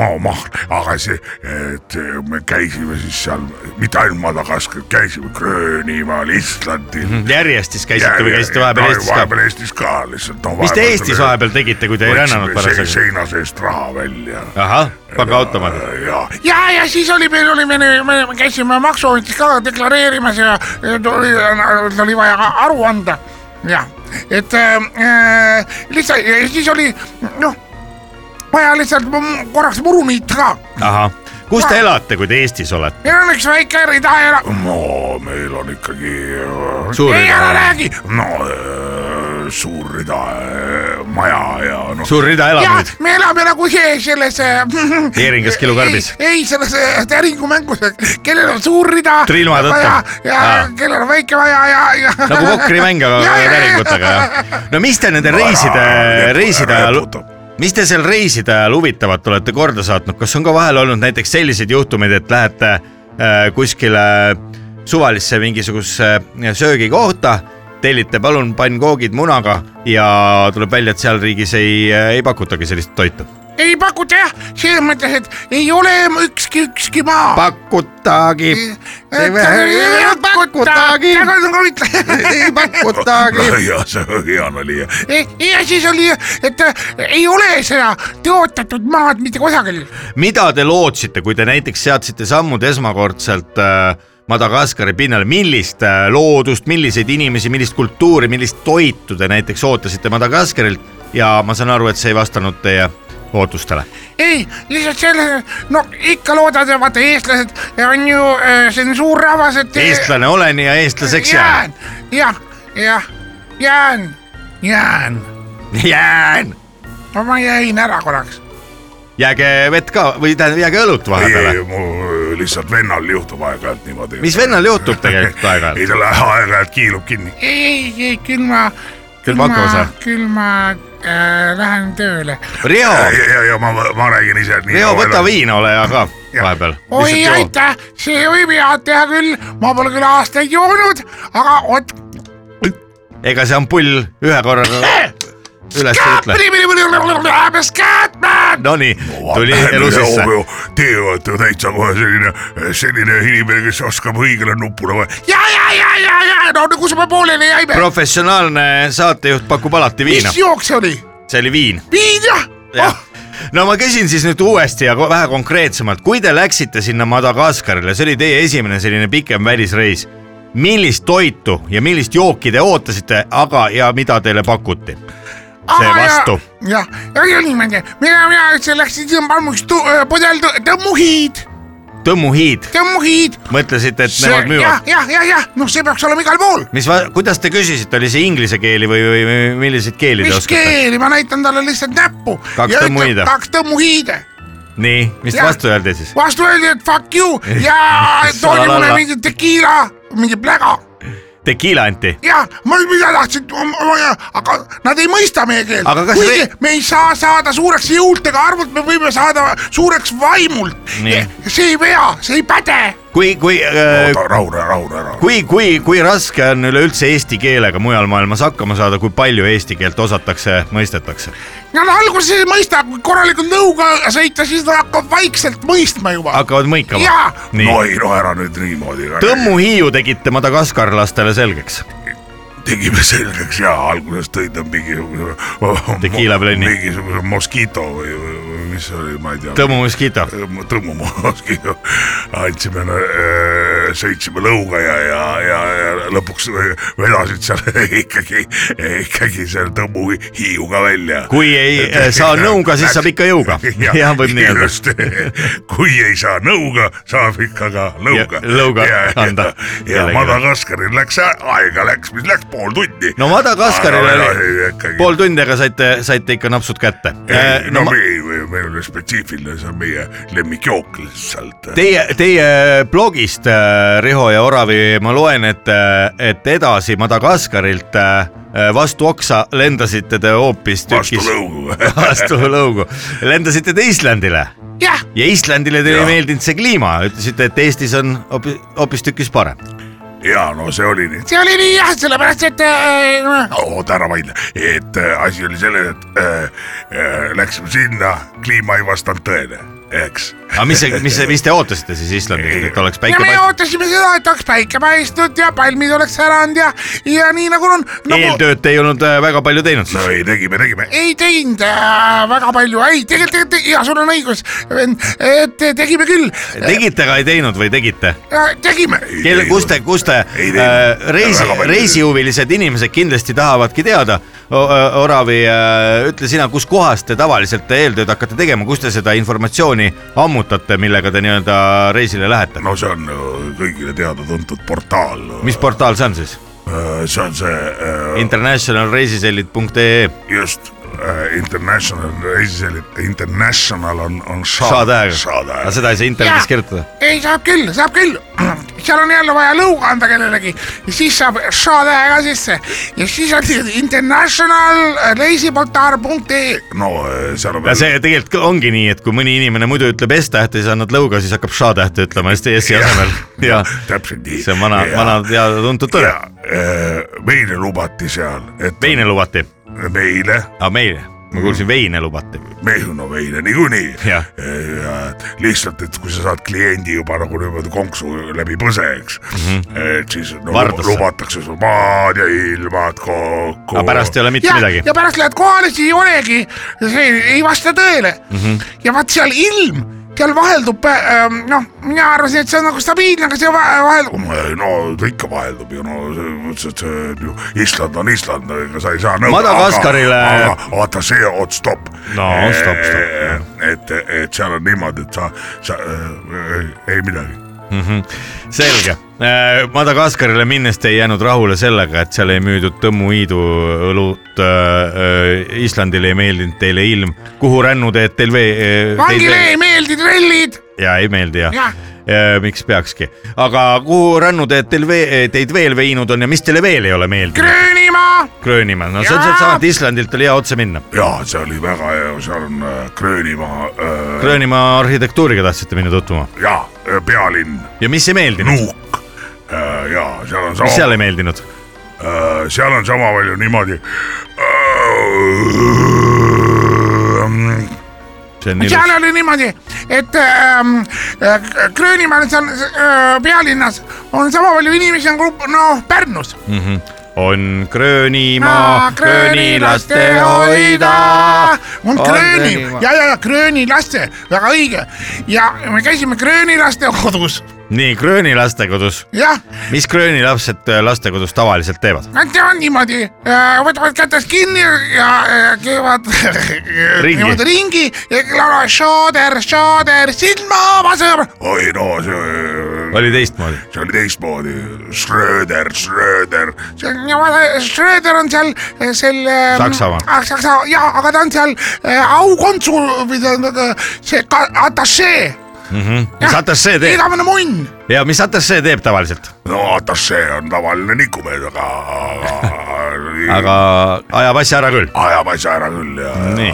S5: maa on maa , aga see , et äh, me käisime siis seal mitte ainult Madagaskar , käisime Gröönimaal , Islandil mm .
S4: järjest siis käisite või käisite vahepeal Eestis ka ?
S5: vahepeal Eestis ka lihtsalt no, .
S4: mis te Eestis vahepeal tegite , kui te ei rännanud parasjagu ?
S5: seina seest raha välja .
S4: ahah , pangaautomaadid .
S5: ja ,
S6: ja , ja siis oli meil , oli meil , me käisime maksuametis ka deklareerimas ja ja tuli , oli vaja ka aru anda . jah , et äh, lihtsalt ja siis oli noh , vaja lihtsalt mu- korraks muru niita ka .
S4: ahah , kus te elate , kui te Eestis olete ?
S6: meil on üks väike rida ja
S5: no meil on ikkagi .
S4: Suur
S6: ei
S4: rida.
S6: ära räägi .
S5: no äh, suur rida äh, maja ja noh .
S4: suur rida
S6: ja
S4: elamuid .
S6: me elame nagu see selles .
S4: Teeringas kilukarbis.
S6: ei , ei selles äh, täringumängus , kellel on suur rida .
S4: Triilma tõttu.
S6: ja , ja
S4: Aa.
S6: kellel on väike vaja ja , ja .
S4: nagu pokrimäng , aga täringutega jah . no mis te nende reiside , reiside ajal , mis te seal reiside ajal huvitavat olete korda saatnud , kas on ka vahel olnud näiteks selliseid juhtumeid , et lähete äh, kuskile suvalisse mingisugusesse äh, söögikohta tellite palun pannkoogid munaga ja tuleb välja , et seal riigis ei , ei pakutagi sellist toitu .
S6: ei pakuta jah , selles mõttes , et ei ole ükski , ükski maa . äh,
S4: pakutagi . pakutagi ,
S6: nagu
S4: ei pakutagi .
S5: ja see hõian oli .
S6: ja siis oli , et äh, ei ole seda tõotatud maad mitte kusagil .
S4: mida te lootsite , kui te näiteks seadsite sammud esmakordselt äh, Madagaskari pinnale , millist äh, loodust , milliseid inimesi , millist kultuuri , millist toitu te näiteks ootasite Madagaskarilt ja ma saan aru , et see ei vastanud teie ootustele .
S6: ei , lihtsalt selle , no ikka loodad , vaata eestlased on ju , see on suur rahvas , et .
S4: eestlane olen ja eestlaseks jään ..
S6: jah , jah , jään , jään ,
S4: jään .
S6: no ma jäin ära korraks .
S4: jääge vett ka või tähendab , jääge õlut vahepeale .
S5: ei , mul lihtsalt vennal juhtub aeg-ajalt niimoodi .
S4: mis vennal juhtub tegelikult
S5: ei ,
S4: aeg-ajalt ?
S5: ta läheb aeg-ajalt kiilub kinni .
S6: ei , ei , ei küll ma .
S4: Küll ma hakkama saan.
S6: küll ma äh, lähen tööle .
S4: Riho ,
S5: ja , ja , ja ma , ma räägin ise .
S4: Riho , võta . viina , ole hea ka
S5: Jah.
S4: vahepeal .
S6: oi , aitäh , see võib head teha küll , ma pole küll aastaid joonud , aga vot .
S4: ega see ampull ühe korraga üles ei ütle . Nonii , tuli elu sisse .
S5: Teie olete ju täitsa kohe selline , selline inimene , kes oskab õigele nupule vajutada .
S6: ja , ja , ja , ja , ja , no kus me pooleli jäime ,
S4: professionaalne saatejuht pakub alati viina
S6: mis , jook see oli ?
S4: see oli viin .
S6: viin jah ? oh ,
S4: no ma küsin siis nüüd uuesti ja ko- vähe konkreetsemalt , kui te läksite sinna Madagaskarile , see oli teie esimene selline pikem välisreis , millist toitu ja millist jooki te ootasite , aga ja mida teile pakuti ?
S6: Oh, ah,
S4: see vastu ,
S6: jah , ei ole niimoodi , mina , mina üldse läksin tõmbamuks äh, pudel tõ- tõmmuhiid ,
S4: tõmmuhiid ,
S6: tõmmuhiid .
S4: mõtlesite , et
S6: jah
S4: nemad , müüvad ?
S6: jah , jah , jah , noh , see peaks olema igal pool .
S4: mis , kuidas te küsisite , oli see inglise keeli või , või või milliseid keeli te
S6: mis
S4: oskate ?
S6: keeli , ma näitan talle lihtsalt näppu .
S4: Kaks tõmmuhiide.
S6: kaks tõmmuhiide .
S4: nii , mis
S6: Jah.
S4: vastu öeldi siis ?
S6: vastu öeldi , et fuck you ja toodi
S4: Salalala.
S6: mulle mingi tekiila , mingi pläga
S4: Tekiila anti
S6: ja ma , mina tahtsin , aga nad ei mõista meie keelt .
S4: Aga kas
S6: kuigi
S4: re-
S6: me ei saa saada suureks jõult ega arvult , me võime saada suureks vaimult
S4: Nii. .
S6: see ei pea , see ei päde .
S4: kui , kui äh,
S5: oota , rahune , rahune , rahune .
S4: kui , kui , kui raske on üleüldse eesti keelega mujal maailmas hakkama saada , kui palju eesti keelt osatakse , mõistetakse ?
S6: Nad alguses ei mõista , kui korralikult nõuga sõita , siis nad hakkavad vaikselt mõistma juba .
S4: hakkavad mõikama
S6: Jaa. ?
S4: nii
S5: no , ei no ära nüüd niimoodi .
S4: Tõmmu Hiiu tegite madagaskarlastele selgeks .
S5: tegime selgeks ja alguses tõid nad mingisuguse
S4: Tekiila plönni.
S5: mingisuguse moskiito või , või mis see oli , ma ei tea .
S4: Tõmmu Mosquito ,
S5: tõmmu moskiito , andsime , sõitsime lõuga ja , ja , ja , ja lõpuks vedasid seal ikkagi , ikkagi selle tõmmu hiiu ka välja .
S4: kui ei äh, saa nõuga , siis saab ikka jõuga . jah , võib nii öelda .
S5: just , kui ei saa nõuga , saab ikka ka lõuga .
S4: Ja- lõuga anda
S5: ja, ja
S4: kellelegi.
S5: Madagaskaril läks a- aega , läks , mis läks pool tundi .
S4: no Madagaskarile oli pool tundi , aga saite , saite ikka napsud kätte .
S5: Ei, no,
S4: No,
S5: no
S4: ma-
S5: meil , meil oli spetsiifiline , see on meie lemmikjook lihtsalt .
S4: Teie , teie blogist , Riho ja Oravi , ma loen , et , et edasi Madagaskarilt äh, vastu oksa lendasite te
S5: vastu
S4: hoopistükkis
S5: lõugu .
S4: vastu lõugu , lendasite te Islandile
S6: jah ,
S4: ja Islandile teile
S5: Jah.
S4: ei meeldinud see kliima , ütlesite , et Eestis on hoopi- hoopistükkis parem .
S5: ja no see oli nii .
S6: see oli nii jah , sellepärast et äh,
S5: oota , ära vaidle , et äh, asi oli selles , et äh, äh, läksime sinna , kliima ei vastanud tõele , eks .
S4: aga mis , mis , mis te ootasite siis Islandilt , et oleks
S6: ja
S4: päike
S6: me
S4: paistnud ?
S6: ootasime seda , et oleks päike paistnud ja palmid oleks säranud ja , ja nii nagu on nagu... .
S4: eeltööd te ei olnud äh, väga palju teinud
S5: no
S4: siis .
S5: ei , tegime , tegime .
S6: ei teinud äh, väga palju , ei tegelikult , tegelikult ja sul on õigus , et tegime küll ,
S4: tegite , aga ei teinud või tegite ?
S6: tegime .
S4: kelle , kus te , kus te
S5: Ei teinud.
S4: äh, reisi
S5: Väga , palju.
S4: reisihuvilised inimesed kindlasti tahavadki teada . Oravi , ütle sina , kus kohas te tavaliselt eeltööd hakkate tegema , kus te seda informatsiooni ammutate , millega te nii-öelda reisile lähete ?
S5: no see on ju kõigile teada-tuntud portaal .
S4: mis portaal see on siis ?
S5: see on see äh,
S4: Oh. E. internationalreisisellid.ee
S5: just äh, International , reisijate International on , on
S4: Saad-Aeg . aga
S5: Saad-Aeg .
S4: seda ei saa internetis
S6: Jaa.
S4: kirjutada .
S6: ei , saab küll , saab küll . seal on jälle vaja lõuga anda kellelegi ja siis saab šaade ka sisse ja siis on äh, internationalreisiportaal.ee .
S5: no äh, seal on
S4: ja . see tegelikult ka ongi nii , et kui mõni inimene muidu ütleb S-tähte , siis annad lõuga , siis hakkab š-tähte ütlema hästi S-i asemel . ja
S5: täpselt nii .
S4: see on vana , vana . teada-tuntud tõde .
S5: ja äh, meile lubati seal , et
S4: veine lubati ,
S5: meile ,
S4: aga meile , ma kuulsin , veine lubati .
S5: Mehhno meile niikuinii .
S4: Jah.
S5: lihtsalt , et kui sa saad kliendi juba nagu niimoodi konksu läbi põse , eks mm , -hmm. et siis no,
S4: Mhm. Vardasse.
S5: luba- lubatakse sul maad ja ilmad kokku .
S4: aga pärast ei ole mitte
S6: ja ,
S4: midagi .
S6: ja pärast lähed kohale , siis ei olegi , see ei vasta tõele mm . -hmm. ja vaat seal ilm , seal vaheldub ähm, , noh , mina arvasin , et see on nagu stabiilne , aga see va- vaheldub .
S5: no ta ikka vaheldub ju , no selles mõttes , et see on ju Island on Island , ega sa ei saa .
S4: Madagaskarile-
S5: vaata see , oot stopp .
S4: No, stopp, stopp. .
S5: et , et seal on niimoodi , et sa , sa äh, ei midagi .
S4: selge . Madagaskarile minnes te ei jäänud rahule sellega , et seal ei müüdud Tõmmu Iidu õlut . Islandile ei meeldinud teile ilm , kuhu rännu teed teil vee ?
S6: vangile ei meeldi trellid ,
S4: ja ei meeldi jah ja.
S6: Jah. ?
S4: miks peakski , aga kuhu rannu teed teil vee , teid veel veinud on ja mis teile veel ei ole meeldinud ?
S6: Gröönimaa ,
S4: Gröönimaal , no see on
S6: Jaa.
S4: sealtsamalt Islandilt oli hea otse minna .
S5: ja see oli väga hea , seal on äh, Gröönimaa äh,
S4: Gröönimaa arhitektuuriga tahtsite minna tutvuma
S5: ja äh, pealinn
S4: ja mis ei meeldinud ,
S5: Nuuk äh, ja seal on
S4: mis seal
S5: sama ,
S4: ei meeldinud ?
S5: äh, seal on sama palju niimoodi äh, .
S4: see on ilus
S6: seal , oli niimoodi , et ähm, äh, Gröönimaal seal äh, pealinnas on sama palju inimesi , on grupp , noh , Pärnus .
S4: on Gröönimaa , gröönilaste hoida .
S6: on
S4: On
S6: Grööni
S4: Gröönimaa. ,
S6: ja , ja , ja gröönilaste , väga õige . ja me käisime gröönilaste kodus ,
S4: nii gröönilaste kodus ,
S6: jah
S4: mis gröönilapsed äh, lastekodus tavaliselt teevad ?
S6: Nad teevad niimoodi , võtavad kätest kinni ja äh, käivad
S4: Ringi.
S6: niimoodi ringi ja laulavad šaader , šaader , silma oma sõber .
S5: oi no see ,
S4: oli teistmoodi ,
S5: see oli teistmoodi , Schröder , Schröder ,
S6: Schröder on seal äh, selle .
S4: Saksamaa.
S6: Saksa ja , Ah, aga ta on seal äh, aukonsul või ta on äh, see ka- atašee .
S4: Mhm. mis atašee teeb
S6: igavene munn .
S4: ja mis atašee teeb tavaliselt ,
S5: no atašee on tavaline nikumees , aga , aga
S4: aga ajab asja ära küll .
S5: ajab asja ära küll ja ,
S4: nii ,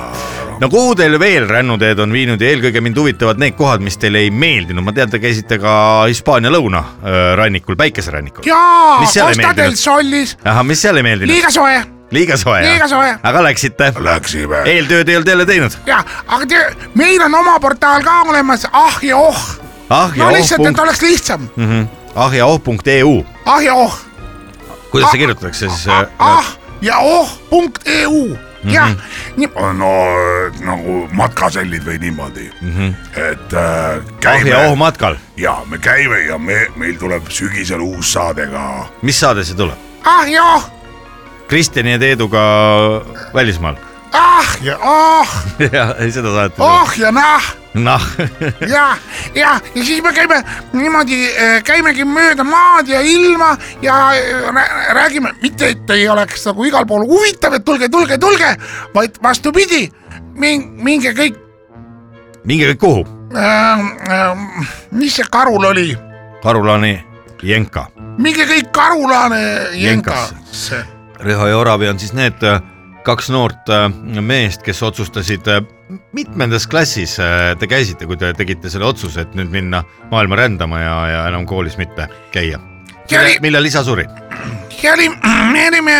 S4: no kuhu teil veel rännuteed on viinud ja eelkõige mind huvitavad need kohad , mis teile ei meeldinud , ma tean , te käisite ka Hispaania lõunarannikul , päikeserannikul .
S6: jaa ,
S4: Mis seal ei
S6: Costa del
S4: meeldinud?
S6: Solis ,
S4: ahah , mis seal ei meeldinud ?
S6: liiga soe
S4: liiga soe ,
S6: liiga soe.
S4: aga läksite ,
S5: läksime
S4: eeltööd ei olnud jälle teinud .
S6: ja , aga te, meil on oma portaal ka olemas , ah ja oh .
S4: ah ja
S6: no
S4: oh
S6: lihtsalt , et
S4: punkt ,
S6: oleks lihtsam
S4: ah ja oh punkt EU ,
S6: ah ja oh ,
S4: kuidas see kirjutatakse siis ? äh,
S6: ah ja oh punkt EU , jah ,
S4: Mhm.
S6: nii ,
S5: no nagu matkasellid või niimoodi mm , -hmm. et äh,
S4: ah
S5: käime
S4: ja Mhm. oh matkal ,
S5: ja me käime ja me , meil tuleb sügisel uus saade ka .
S4: mis saade see tuleb ?
S6: ah ja oh ,
S4: Kristjani ja Teeduga välismaal .
S6: ah ja oh ,
S4: jah , ei seda saadet ei tule .
S6: oh ja nah
S4: noh ,
S6: ja , ja , ja siis me käime niimoodi , käimegi mööda maad ja ilma ja äh, rää- räägime , mitte et ei oleks nagu igal pool huvitav , et tulge , tulge , tulge , vaid vastupidi , minge kõik ,
S4: minge kõik kuhu ,
S6: ähm, mis see karul oli ,
S4: Karulani Jenka
S6: minge kõik karulane jenkasse .
S4: Riho ja Oravi on siis need äh, kaks noort äh, meest , kes otsustasid , mitmendas klassis äh, te käisite , kui te tegite selle otsuse , et nüüd minna maailma rändama ja , ja enam koolis mitte käia ?
S6: see oli ,
S4: millal isa suri ?
S6: see oli , me olime ,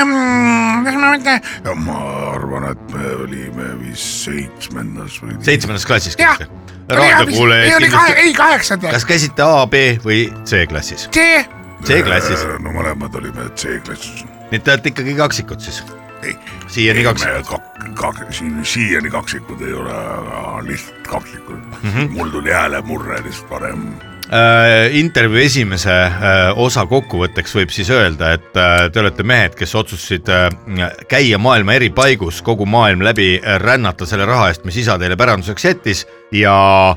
S6: kuidas ma mõtlen ,
S5: ja ma arvan , et me olime vist seitsmendas või .
S4: seitsmendas klassis
S6: Jah.
S4: käisite ?
S6: ei
S4: raadiokuulaja
S6: oli kahe ,
S4: kindlasti ,
S6: ei kaheksandal ,
S4: kas käisite A , B või C klassis ?
S6: see ,
S4: C klassis ,
S5: no mõlemad olime C-klassis .
S4: nii et te olete ikkagi kaksikud siis ,
S5: ei ,
S4: siiani kaksikud .
S5: kak- , kak- , siin siiani kaksikud ei ole , aga lihtsalt kaksikud mm .
S4: Mhm.
S5: -hmm. mul tuli häälemurre lihtsalt varem .
S4: äh, intervjuu esimese äh, osa kokkuvõtteks võib siis öelda , et äh, te olete mehed , kes otsustasid äh, käia maailma eri paigus , kogu maailm läbi äh, rännata selle raha eest , mis isa teile päranduseks jättis ja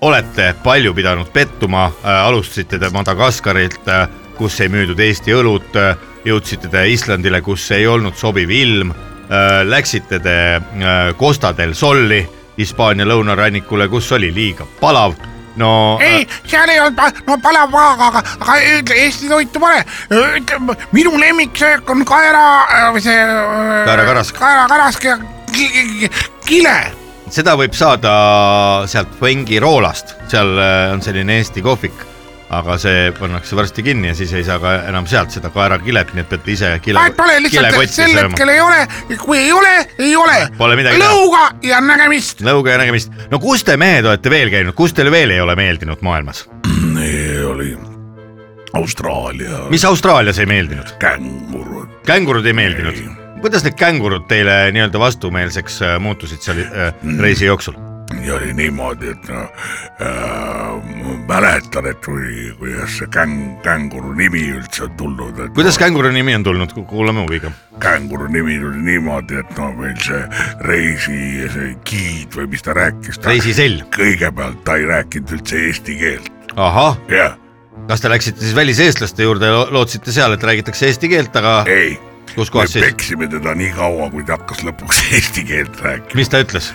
S4: olete palju pidanud pettuma äh, , alustasite te Madagaskarilt äh, , kus ei müüdud Eesti õlut äh, , jõudsite te Islandile , kus ei olnud sobiv ilm äh, läksite te äh, Costa del Solli Hispaania lõunarannikule , kus oli liiga palav . no
S6: ei , seal ei olnud pa- , no palav vaag , aga , aga ütle , Eesti toitu pole . ütle , minu lemmiksöök on kaera äh, või see .
S4: Kaerakaras.
S6: kaerakarask ja ki- ki- kile .
S4: äh, seda võib saada sealt Fuengiroolast , seal äh, on selline Eesti kohvik , aga see pannakse varsti kinni ja siis ei saa ka enam sealt seda kaerakilet , nii et peate ise Nagu kile
S6: vahet , pole , lihtsalt
S4: kilekotti
S6: sel
S4: sööma .
S6: hetkel ei ole , kui ei ole , ei ole .
S4: Pole midagi teha.
S6: lõuga ja nägemist .
S4: nõuge ja nägemist . no kus te mehed olete veel käinud , kus teile veel ei ole meeldinud maailmas ?
S5: see oli Austraalia
S4: mis Austraalias ei meeldinud ?
S5: kängurud .
S4: kängurud ei meeldinud ? kuidas need kängurud teile nii-öelda vastumeelseks äh, muutusid seal äh, reisi jooksul ?
S5: ja oli niimoodi , et no, äh, mäletan , et kui , kuidas see käng , känguru nimi üldse on tulnud , et
S4: kuidas känguru nimi on tulnud , kuulame huviga .
S5: känguru nimi tuli niimoodi , et no meil see reisi , see giid või mis ta rääkis , ta
S4: reisisell ,
S5: kõigepealt ta ei rääkinud üldse eesti keelt ,
S4: ahah ,
S5: jah ,
S4: kas te läksite siis väliseestlaste juurde ja lo- lootsite seal , et räägitakse eesti keelt , aga
S5: ei .
S4: kus
S5: me
S4: kohas siis ,
S5: peksime teda nii kaua , kui ta hakkas lõpuks eesti keelt rääkima .
S4: mis ta ütles ?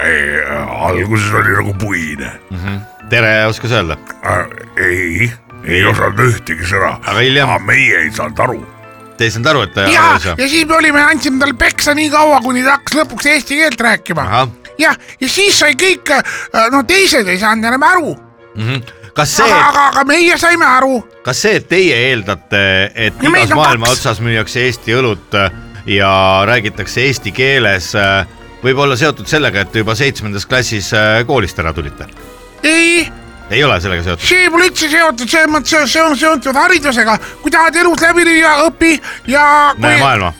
S5: ei , alguses oli nagu puine ,
S4: tere oskas öelda ,
S5: ei , ei osanud ühtegi sõna ,
S4: aga hiljem
S5: aga meie ei saanud aru
S4: te ei saanud aru , et ta
S6: ja
S4: aru ei , saa .
S6: ja siis me olime , andsime talle peksa nii kaua , kuni ta hakkas lõpuks eesti keelt rääkima .
S4: ahah ,
S6: jah , ja siis sai kõik , no teised ei saanud enam aru ,
S4: kas
S6: aga ,
S4: see ,
S6: aga , aga meie saime aru
S4: kas see , et teie eeldate , et
S6: No meid
S4: igas
S6: on
S4: maailma
S6: kaks.
S4: otsas müüakse Eesti õlut äh, ja räägitakse eesti keeles , võib olla seotud sellega , et te juba seitsmendas klassis äh, koolist ära tulite ?
S6: ei ,
S4: ei ole sellega seotud ?
S6: see pole üldse seotud , selles mõttes see- see on seotud haridusega , kui tahad elus läbi lüüa , õpi ja .
S4: Näe maailma. .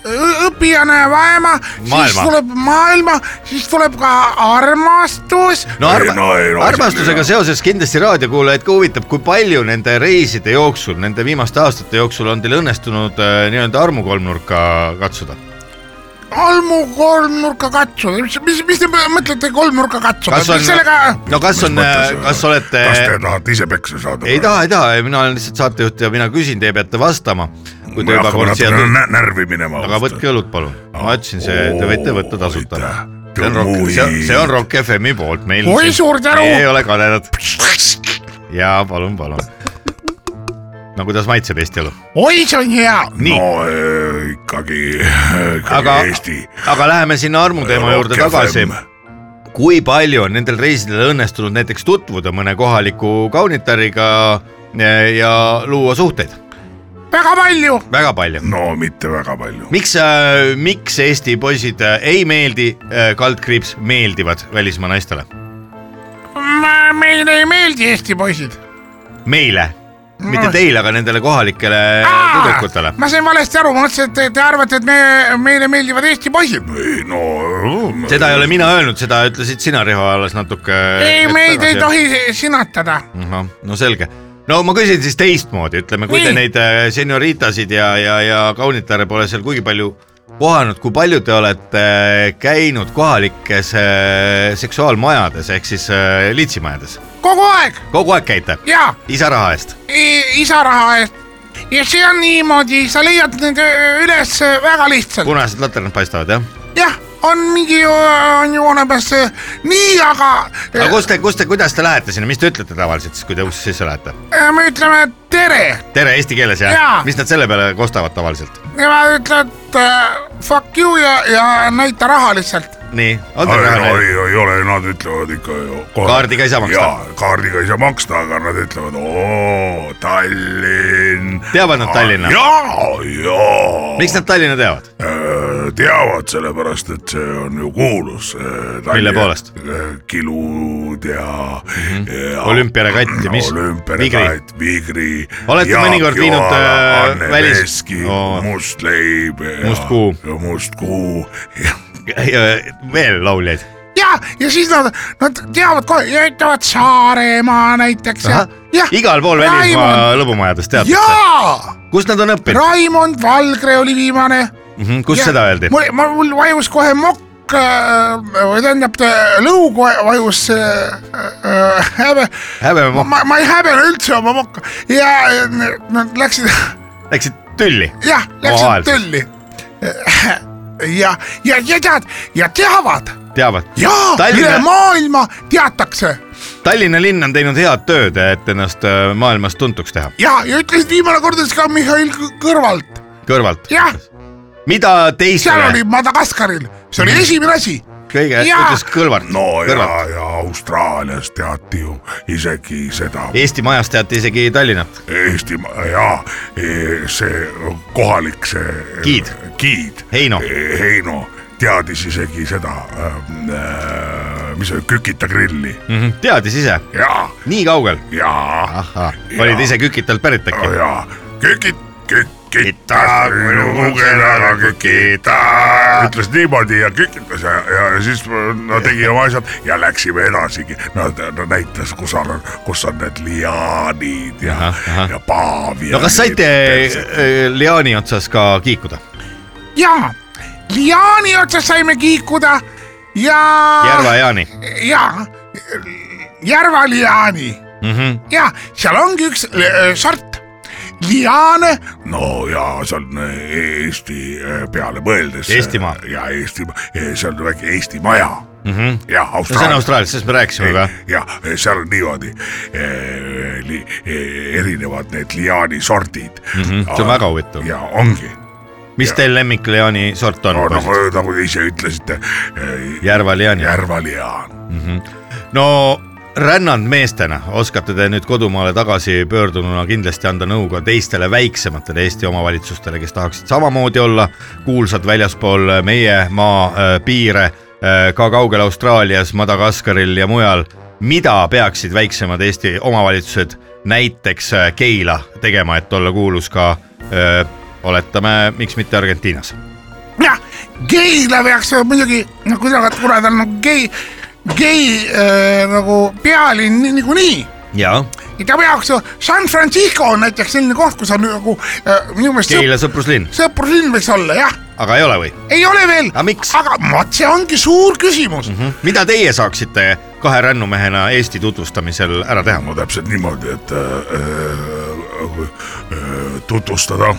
S6: õpi ja näe maailma , siis
S4: Maailma.
S6: tuleb maailma , siis tuleb ka armastus .
S4: no arva-
S5: Ei, no ei, no
S4: armastusega
S5: see-
S4: seoses kindlasti raadiokuulajaid ka huvitab , kui palju nende reiside jooksul , nende viimaste aastate jooksul on teil õnnestunud äh, nii-öelda armukolmnurka katsuda ,
S6: olmu kolmnurka katsu , mis , mis , mis te mõtlete kolmnurka katsu
S4: Kas on- ,
S6: sellega
S4: no kas on , kas olete
S5: kas te tahate ise peksa saada ?
S4: ei taha , ei taha , mina olen lihtsalt saatejuht ja mina küsin , te peate vastama . kui te
S5: me
S4: juba
S5: hakkame
S4: kord siia tulite .
S5: natukene nä- närvi minema .
S4: aga võtke õlut palun , ma ütlesin , see , te võite võtta tasuta . see on Rock , see on , see on
S5: rohkem .
S4: Rock FM-i poolt meil .
S6: Oi, suur tänu!
S4: ei ole kanelat . ja palun , palun . no kuidas maitseb Eesti õlu ?
S6: oi , see on hea ,
S4: nii
S5: no , eh, ikkagi , ikkagi
S4: Aga-
S5: Eesti .
S4: aga läheme sinna armuteema juurde tagasi . kui palju on nendel reisidel õnnestunud näiteks tutvuda mõne kohaliku kaunitariga eh, ja luua suhteid ?
S6: väga palju ,
S4: väga palju .
S5: no mitte väga palju .
S4: miks , miks Eesti poisid äh, ei meeldi , kaldkriips meeldivad välismaa naistele ?
S6: meile ei meeldi Eesti poisid .
S4: meile ,
S6: Mm.
S4: mitte teile , aga nendele kohalikele
S6: Aa!
S4: tüdrukutele .
S6: ma sain valesti aru , ma mõtlesin , et te- te arvate , et me , meile meeldivad Eesti poisid .
S4: Äh,
S5: ei no .
S4: seda ei ole mina öelnud , seda ütlesid sina , Riho , alles natuke .
S6: ei , meid ei . tohi sinatada .
S4: no selge , no ma küsin siis teistmoodi , ütleme , kui te
S6: Nii.
S4: neid äh, senioritasid ja , ja , ja kaunitare pole seal kuigi palju kohanud , kui palju te olete äh, käinud kohalikes äh, seksuaalmajades ehk siis äh, litsimajades ,
S6: kogu aeg
S4: kogu aeg käite ?
S6: ja
S4: isa raha eest
S6: i- isa raha eest . ja see on niimoodi , sa leiad need öö, üles äh, väga lihtsalt .
S4: punased laternad paistavad jah ?
S6: jah , on mingi , on ju olemas see- nii , aga äh,
S4: aga kus te , kus te , kuidas te lähete sinna , mis te ütlete tavaliselt siis , kui te uksest sisse lähete ?
S6: äh, me ütleme tere
S4: tere eesti keeles jah
S6: Jaa. ?
S4: mis nad selle peale kostavad tavaliselt ?
S6: ja ma ütlen , et äh, fuck you ja , ja näita raha lihtsalt .
S4: nii , on teil raha
S5: ei
S4: veel ?,
S5: ei ole , nad ütlevad ikka ju kohe .
S4: Kaardiga ei saa maksta.
S5: jaa , kaardiga ei saa maksta , aga nad ütlevad oo , Tallinn .
S4: Teavad nad Tallinna?
S5: jaa , jaa .
S4: miks nad Tallinna teavad ?
S5: Äh, teavad , sellepärast et see on ju kuulus .
S4: Mille poolest? ?
S5: kilud ja, mm -hmm. ja .
S4: Olümpiale katt ja mis?
S5: olümpiale
S4: Vigri?
S5: katt , vigri .
S4: Olete mõnikord viinud, äh, välis- Oo.
S5: Oh. must leib .
S4: Must kuu.
S5: must kuu ja
S4: veel lauljaid ?
S6: ja , ja siis nad , nad teavad kohe ja ütlevad Saaremaa näiteks ja , ja .
S4: igal pool välismaa
S6: Raimond.
S4: lõbumajades teatakse .
S6: jaa ,
S4: kus nad on õppinud ?
S6: Raimond Valgre oli viimane
S4: kus
S6: Ja
S4: seda öeldi ?
S6: mul , mul , mul vajus kohe mokk äh, või tähendab ta- lõug va- vajus äh, äh, häbe .
S4: Häbeme mokk.
S6: ma , ma ei häbene üldse oma mokka ja äh, nad läksid ,
S4: Läksid tülli ?
S6: jah ,
S4: Vahel
S6: läksid
S4: siis.
S6: tülli . ja , ja , ja tead ja teavad
S4: teavad .
S6: ja Tallinna... üle
S4: Tallinna ,
S6: maailma teatakse
S4: Tallinna linn on teinud head tööd , et ennast äh, maailmas tuntuks teha .
S6: ja , ja ütlesid viimane kord ütles ka Mihhail Kõ- Kõrvalt ,
S4: kõrvalt .
S6: jah ,
S4: mida
S6: seal
S4: teistele
S6: oli Madagaskaril , see oli esimene asi .
S4: kõige ,
S6: jaa.
S4: ütles kõrvalt
S5: no
S4: kõrvalt .
S5: ja , ja Austraalias teati ju isegi seda
S4: Eesti majas teati isegi Tallinnat .
S5: Eestimaa ja eh, see kohalik see
S4: Giid.
S5: giid
S4: Heino.
S5: eh, Heino teadis isegi seda ähm, , äh, mis see oli , kükita grilli
S4: Mm. Mhm. teadis ise ,
S5: ja ,
S4: nii kaugel .
S5: ja ,
S4: ahah , olid ise kükitalt pärit äkki .
S5: ja kükit , kükita minu kugel ära kükita , ütles niimoodi ja kükitas ja , ja ja siis no tegi oma asjad ja läksime edasigi no, . no näitas , kus on , kus on need liaanid ja
S4: Ahah, ahah. ,
S5: ja paav ja .
S4: no kas saite äh, liaani otsas ka kiikuda ?
S6: ja Liani otsas saime kiikuda ja .
S4: Järva jaani
S6: ja Järva liani
S4: mm . -hmm.
S6: ja seal ongi üks li- öö, sort liane ,
S5: no ja see on Eesti eh, peale mõeldes .
S4: Eestimaa.
S5: ja Eestimaa , see on väike Eesti maja
S4: Mm -hmm.
S5: ja
S4: no see on
S5: Austraalia .
S4: Austraalias , sellest me rääkisime ka .
S5: ja seal on niimoodi eh, li, eh, erinevad need liaanisordid mm .
S4: Mhm, see on väga huvitav.
S5: ja ongi ,
S4: mis teil lemmik liaani sort on
S5: no,
S4: no, ?
S5: nagu , nagu te ise ütlesite eh, ,
S4: Järva liaani .
S5: järvaliaan .
S4: no rännanud meestena oskate te nüüd kodumaale tagasi pöördununa kindlasti anda nõu ka teistele väiksematele Eesti omavalitsustele , kes tahaksid samamoodi olla kuulsad väljaspool meie maa äh, piire , ka kaugel Austraalias , Madagaskaril ja mujal . mida peaksid väiksemad Eesti omavalitsused näiteks äh, Keila tegema , et olla kuulus ka äh, oletame , miks mitte Argentiinas ?
S6: jah , geile peaks muidugi , no kuidagi , kuna ta on nagu gei , gei öö, nagu pealinn nii- niikuinii
S4: jaa ,
S6: ja ta peaks ju , San Francisco on näiteks selline koht , kus on nagu äh, minu meelest sõp-
S4: Keila sõpruslinn ,
S6: sõpruslinn võiks olla jah ,
S4: aga ei ole või ?
S6: ei ole veel .
S4: Aga miks?
S6: aga vot see ongi suur küsimus mm . -hmm.
S4: mida teie saaksite kahe rännumehena Eesti tutvustamisel ära teha ?
S5: no täpselt niimoodi , et eh, eh, eh, tutvustada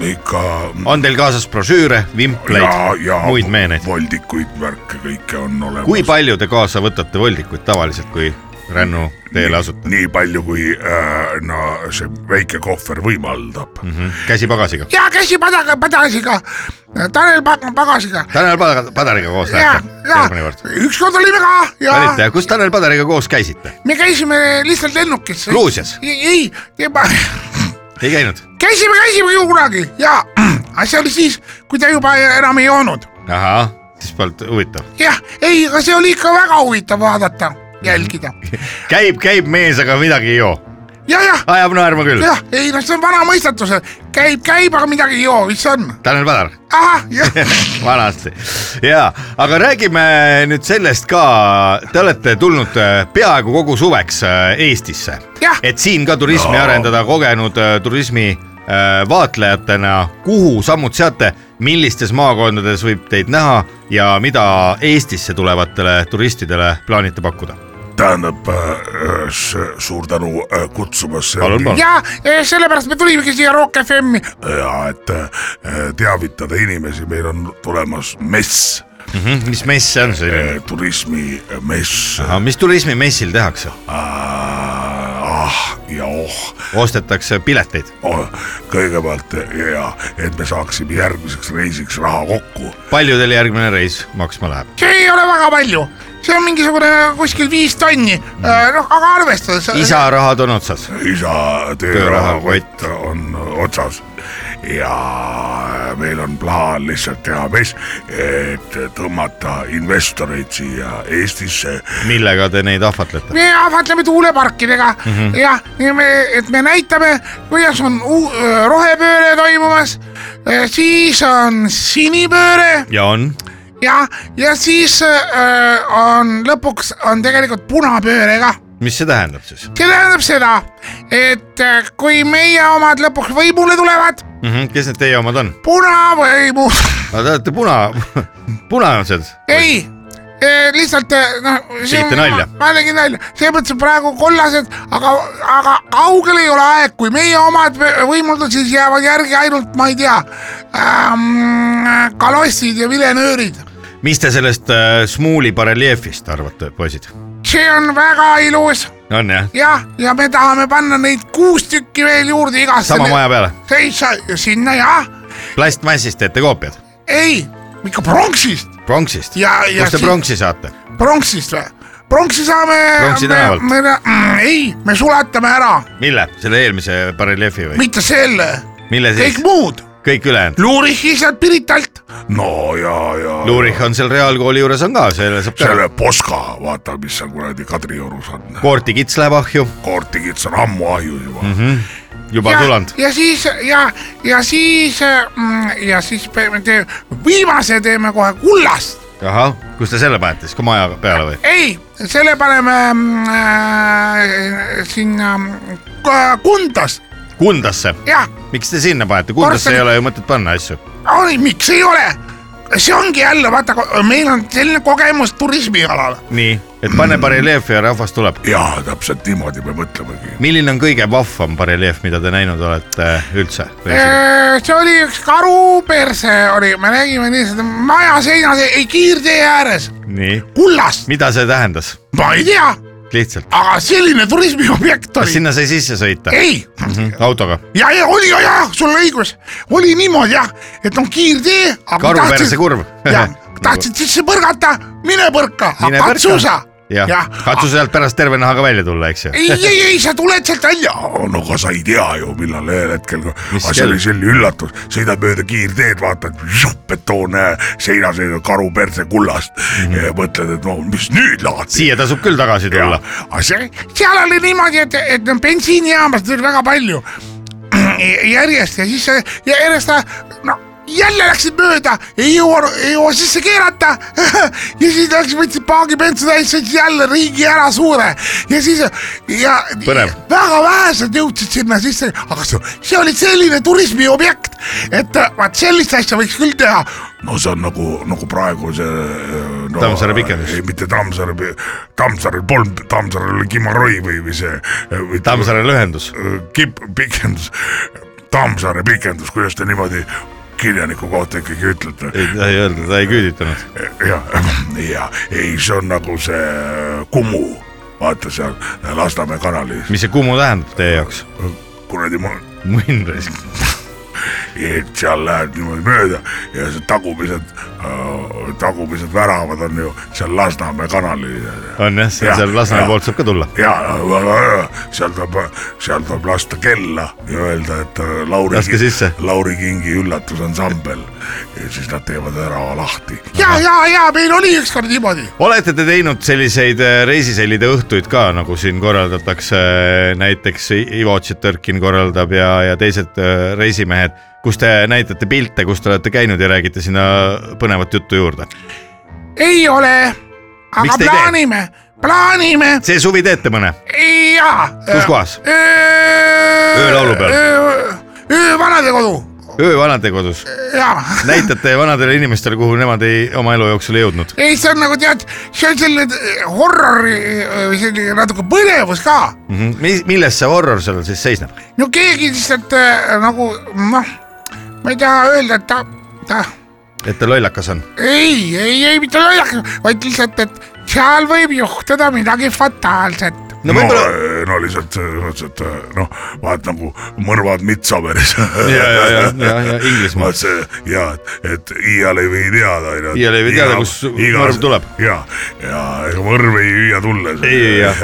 S5: ikka
S4: on teil kaasas brošüüre ,
S5: ja ,
S4: vimpleid
S5: ja ,
S4: muid meeneid ?
S5: voldikuid , värke , kõike on olemas .
S4: kui palju te kaasa võtate voldikuid tavaliselt , kui rännu teele asute ?
S5: nii palju , kui äh, no see väike kohver võimaldab mm .
S4: Mhm. hm?
S5: -hmm.
S4: käsipagasiga ,
S6: ja käsi padaga , padasiga , Tanel Pag- Pagasiga
S4: Tanel Padar- Padariga koos
S6: ja ,
S4: lähete
S6: ja
S4: järgmine kord ?
S6: ükskord olime ka
S4: olite
S6: ja
S4: ja kus Tanel Padariga koos käisite ?
S6: me käisime lihtsalt lennukis .
S4: Gruusias?
S6: ei , ei ,
S4: ei käinud ?
S6: käisime , käisime ju kunagi ja , aga see oli siis , kui ta juba enam ei joonud .
S4: ahah , siis polnud huvitav .
S6: jah , ei , aga see oli ikka väga huvitav vaadata , jälgida
S4: käib , käib mees , aga midagi ei joo .
S6: ja , jah
S4: ajab naerma küll .
S6: jah , ei noh , see on vana mõistatus , käib , käib , aga midagi ei joo , mis see on ?
S4: Tanel Padar
S6: ahah , jah ,
S4: vanasti ja , aga räägime nüüd sellest ka , te olete tulnud äh, peaaegu kogu suveks äh, Eestisse
S6: Jah. .
S4: et siin ka turismi no. arendada , kogenud äh, turismi äh, vaatlejatena , kuhu sammud seate , millistes maakondades võib teid näha ja mida Eestisse tulevatele turistidele plaanite pakkuda ?
S5: tähendab äh, s- suur tänu äh, kutsumast .
S4: Palun, palun.
S6: ja eh, sellepärast me tulimegi siia Rock FM-i .
S5: ja et äh, teavitada inimesi , meil on tulemas mess
S4: Mhm, mis mess see on selline ?
S5: äh, , turismimess .
S4: mis turismimessil tehakse ?
S5: ah ja oh,
S4: ostetakse pileteid ,
S5: oh , kõigepealt ja et me saaksime järgmiseks reisiks raha kokku .
S4: palju teil järgmine reis maksma läheb ?
S6: see ei ole väga palju , see on mingisugune kuskil viis tonni , noh , aga arvestades .
S4: isa rahad on otsas
S5: isa töörahakott on otsas ja meil on plaan lihtsalt teha mess , et tõmmata investoreid siia Eestisse .
S4: millega te neid ahvatlete ?
S6: me ahvatleme tuuleparkidega mm -hmm. ja , ja me , et me näitame , kuidas on uu- äh, rohepööre toimumas , siis on sinipööre
S4: ja on
S6: ja , ja siis öö, on lõpuks on tegelikult punapööre ka .
S4: mis see tähendab siis
S6: see tähendab seda , et äh, kui meie omad lõpuks võimule tulevad ,
S4: mm ? -hmm. kes need teie omad on ?
S6: punavõimu ,
S4: Te olete puna , punased
S6: ei , lihtsalt eh, noh .
S4: Tegite nalja.
S6: ma tegin nalja , selles mõttes on praegu kollased , aga , aga kaugel ei ole aeg , kui meie omad võ- võimuldud , siis jäävad järgi ainult , ma ei tea ähm, , kalossid ja vilenöörid .
S4: mis te sellest äh, Smuuli bareljeefist arvate , poisid ?
S6: see on väga ilus
S4: on jah ,
S6: jah , ja me tahame panna neid kuus tükki veel juurde igasse .
S4: sama maja peale ,
S6: seisa sinna jah ,
S4: plastmassist teete koopiad ,
S6: ei , ikka pronksist
S4: pronksist ,
S6: ja , ja
S4: kust te pronksi saate ?
S6: pronksist või ? pronksi saame .
S4: Pronksi tänavalt.
S6: mm, ei , me sulatame ära ,
S4: mille , selle eelmise bareljeefi või ?
S6: mitte selle ,
S4: mille siis
S6: kõik ? muud .
S4: kõik ülejäänud .
S6: Luurich isad Piritalt ,
S5: no ja , ja
S4: Luurich on seal reaalkooli juures on ka , selle saab teha .
S5: selle Poska , vaata , mis seal kuradi Kadriorus on ,
S4: Koorti kits läheb ahju ,
S5: koortikits on ammu ahju juba mm .
S4: juba
S6: ja
S4: tulanud ,
S6: ja siis ja , ja siis mm, ja siis me teeme , viimase teeme kohe kullast .
S4: ahah , kus te selle panete siis , ka maja peale või ?
S6: ei , selle paneme mm, äh, sinna mm, k- Kundas ,
S4: Kundasse ,
S6: jah ,
S4: miks te sinna panete , Kundasse
S6: Korsteni-
S4: ei ole ju mõtet panna asju .
S6: oi , miks ei ole ? see ongi jälle , vaata , meil on selline kogemus turismialal .
S4: nii , et pane bareljeefi ja rahvas tuleb .
S5: ja täpselt niimoodi me mõtlemegi .
S4: milline on kõige vahvam bareljeef , mida te näinud olete äh, üldse ?
S6: Äh, see oli üks karuperse oli , me nägime nii seda maja seina , ei kiirtee ääres ,
S4: nii ,
S6: kullast ,
S4: mida see tähendas
S6: ma ei tea ,
S4: lihtsalt ,
S6: aga selline turismiobjekt
S4: kas
S6: oli .
S4: sinna sai sisse sõita Mm,
S6: ei ,
S4: Mhm. autoga ?
S6: ja , ja oli ja , ja sul on õigus , oli niimoodi jah , et on kiirtee .
S4: karuperse kurv .
S6: jah , tahtsid sisse põrgata , mine põrka ,
S4: Mine põrka.
S6: katsu sa .
S4: jah , katsu sealt pärast terve nahaga välja tulla , eks ju .
S6: ei , ei , ei , sa tuled sealt välja .
S5: no aga sa ei tea ju , millal ühel hetkel ,
S4: Mis
S5: see oli
S4: kell?
S5: selline üllatus , sõidad mööda kiirteed , vaatad , betoonne seina sees on karu perse kullast
S4: Mhm.
S5: mm . -hmm. mõtled , et no mis nüüd lahti .
S4: siia tasub küll tagasi tulla .
S6: aga see , seal oli niimoodi , et , et noh, bensiinijaamas tuli väga palju järjest ja siis see- ja järjest , no jälle läksid mööda , ei jõua , ei jõua sisse keerata . ja siis läksid , võtsid paagi bensu täis , sõitsid jälle riigi ära suure ja siis ja
S4: Põnev.
S6: väga vähesed jõudsid sinna sisse , aga see, see oli selline turismiobjekt , et äh, vaat sellist asja võiks küll teha
S5: no see on nagu , nagu praegu see no, .
S4: Tammsaare pikendus.
S5: ei , mitte Tammsaare , Tammsaarel polnud , Tammsaarel oli Kimaroi või , või see .
S4: Tammsaare lühendus .
S5: kipp , pikendus , Tammsaare pikendus , kuidas te niimoodi kirjaniku kohta ikkagi ütlete ?
S4: ei , ta ei öelnud , ta ei küüditanud .
S5: ja , ja ei , see on nagu see Kumu , vaata seal Lasnamäe kanalis ,
S4: mis see Kumu tähendab teie jaoks ?
S5: kuradi ,
S4: munn raisk .
S5: et seal lähed niimoodi mööda ja see tagumised , tagumised väravad on ju seal Lasnamäe kanali
S4: on jah , see
S5: Jah,
S4: seal Lasnamäe
S5: jah.
S4: poolt saab ka tulla .
S5: ja seal tuleb , seal tuleb lasta kella ja öelda , et äh, Lauri
S4: Laske , sisse.
S5: Lauri Kingi üllatusansambel ja siis nad teevad värava lahti .
S6: ja , ja , ja meil oli ükskord niimoodi .
S4: olete te teinud selliseid äh, reisisellide õhtuid ka , nagu siin korraldatakse , näiteks I- Ivo Tšetõrkin korraldab ja , ja teised äh, reisimehed , kus te näitate pilte , kus te olete käinud ja räägite sinna põnevat juttu juurde .
S6: ei ole ,
S4: Miks
S6: aga
S4: te ei tee?
S6: plaanime , plaanime
S4: see suvi teete mõne ,
S6: ja .
S4: kus ? kohas ? Öölaulu peal.
S6: öövanadekodu
S4: öö vanadekodus ,
S6: ja .
S4: näitate vanadele inimestele , kuhu nemad ei , oma elu jooksul ei jõudnud .
S6: ei , see on nagu tead , see on selline eh, horrori eh, või selline natuke põnevus ka .
S4: mis , Mhm. milles see horror seal siis seisneb ?
S6: no keegi lihtsalt eh, nagu noh , ma ei taha öelda , et ta , ta
S4: et ta lollakas on ,
S6: ei , ei , ei mitte lollakas , vaid lihtsalt , et seal võib juhtuda midagi fataalset .
S4: No
S5: no
S4: võib-olla-
S5: võib-olla . no lihtsalt selles mõttes , et noh , vaat nagu mõrvad Midsommeris .
S4: ja, ja, ja, ja Inglismaal.
S5: vaat see ja , et iial ei või teada .
S4: Iial ei või teada, kus mõrv tuleb.
S5: ja , ja ega mõrv ei hüüa tulles .
S4: Ei hüüa.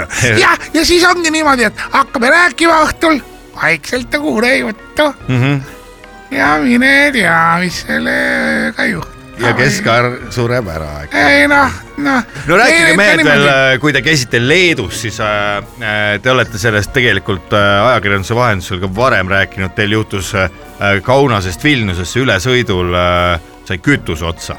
S6: ja , ja siis ongi niimoodi , et hakkame rääkima õhtul vaikselt nagu ja kuule juttu mm .
S4: Mhm.
S6: -hmm. ja mine tea , mis sellega juhtub .
S4: ja . Keskar sureb ära , eks .
S6: ei noh , noh .
S4: no rääkige mehed veel ,. kui te käisite Leedus , siis äh, äh, te olete sellest tegelikult äh, ajakirjanduse vahendusel ka varem rääkinud , teil juhtus äh, Kaunasest Vilniusesse ülesõidul äh, sai kütus otsa .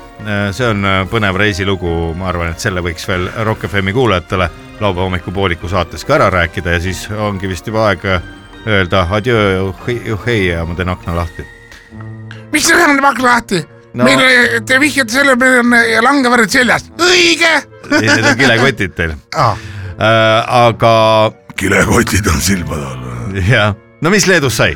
S4: see on äh, põnev reisilugu , ma arvan , et selle võiks veel Rock FM-i kuulajatele laupäeva hommikupooliku saates ka ära rääkida ja siis ongi vist juba aeg äh, öelda adjöö , uhhei ja ma teen akna lahti .
S6: mis see tähendab , hakka lahti ?
S4: No.
S6: meil , te vihjate sellele , meil on eh, langeväärad seljas . õige . Ah.
S4: need on kilekotid teil
S6: Aa.
S4: äh, . aga
S5: kilekotid on silmade all .
S4: jah , no mis Leedus sai ?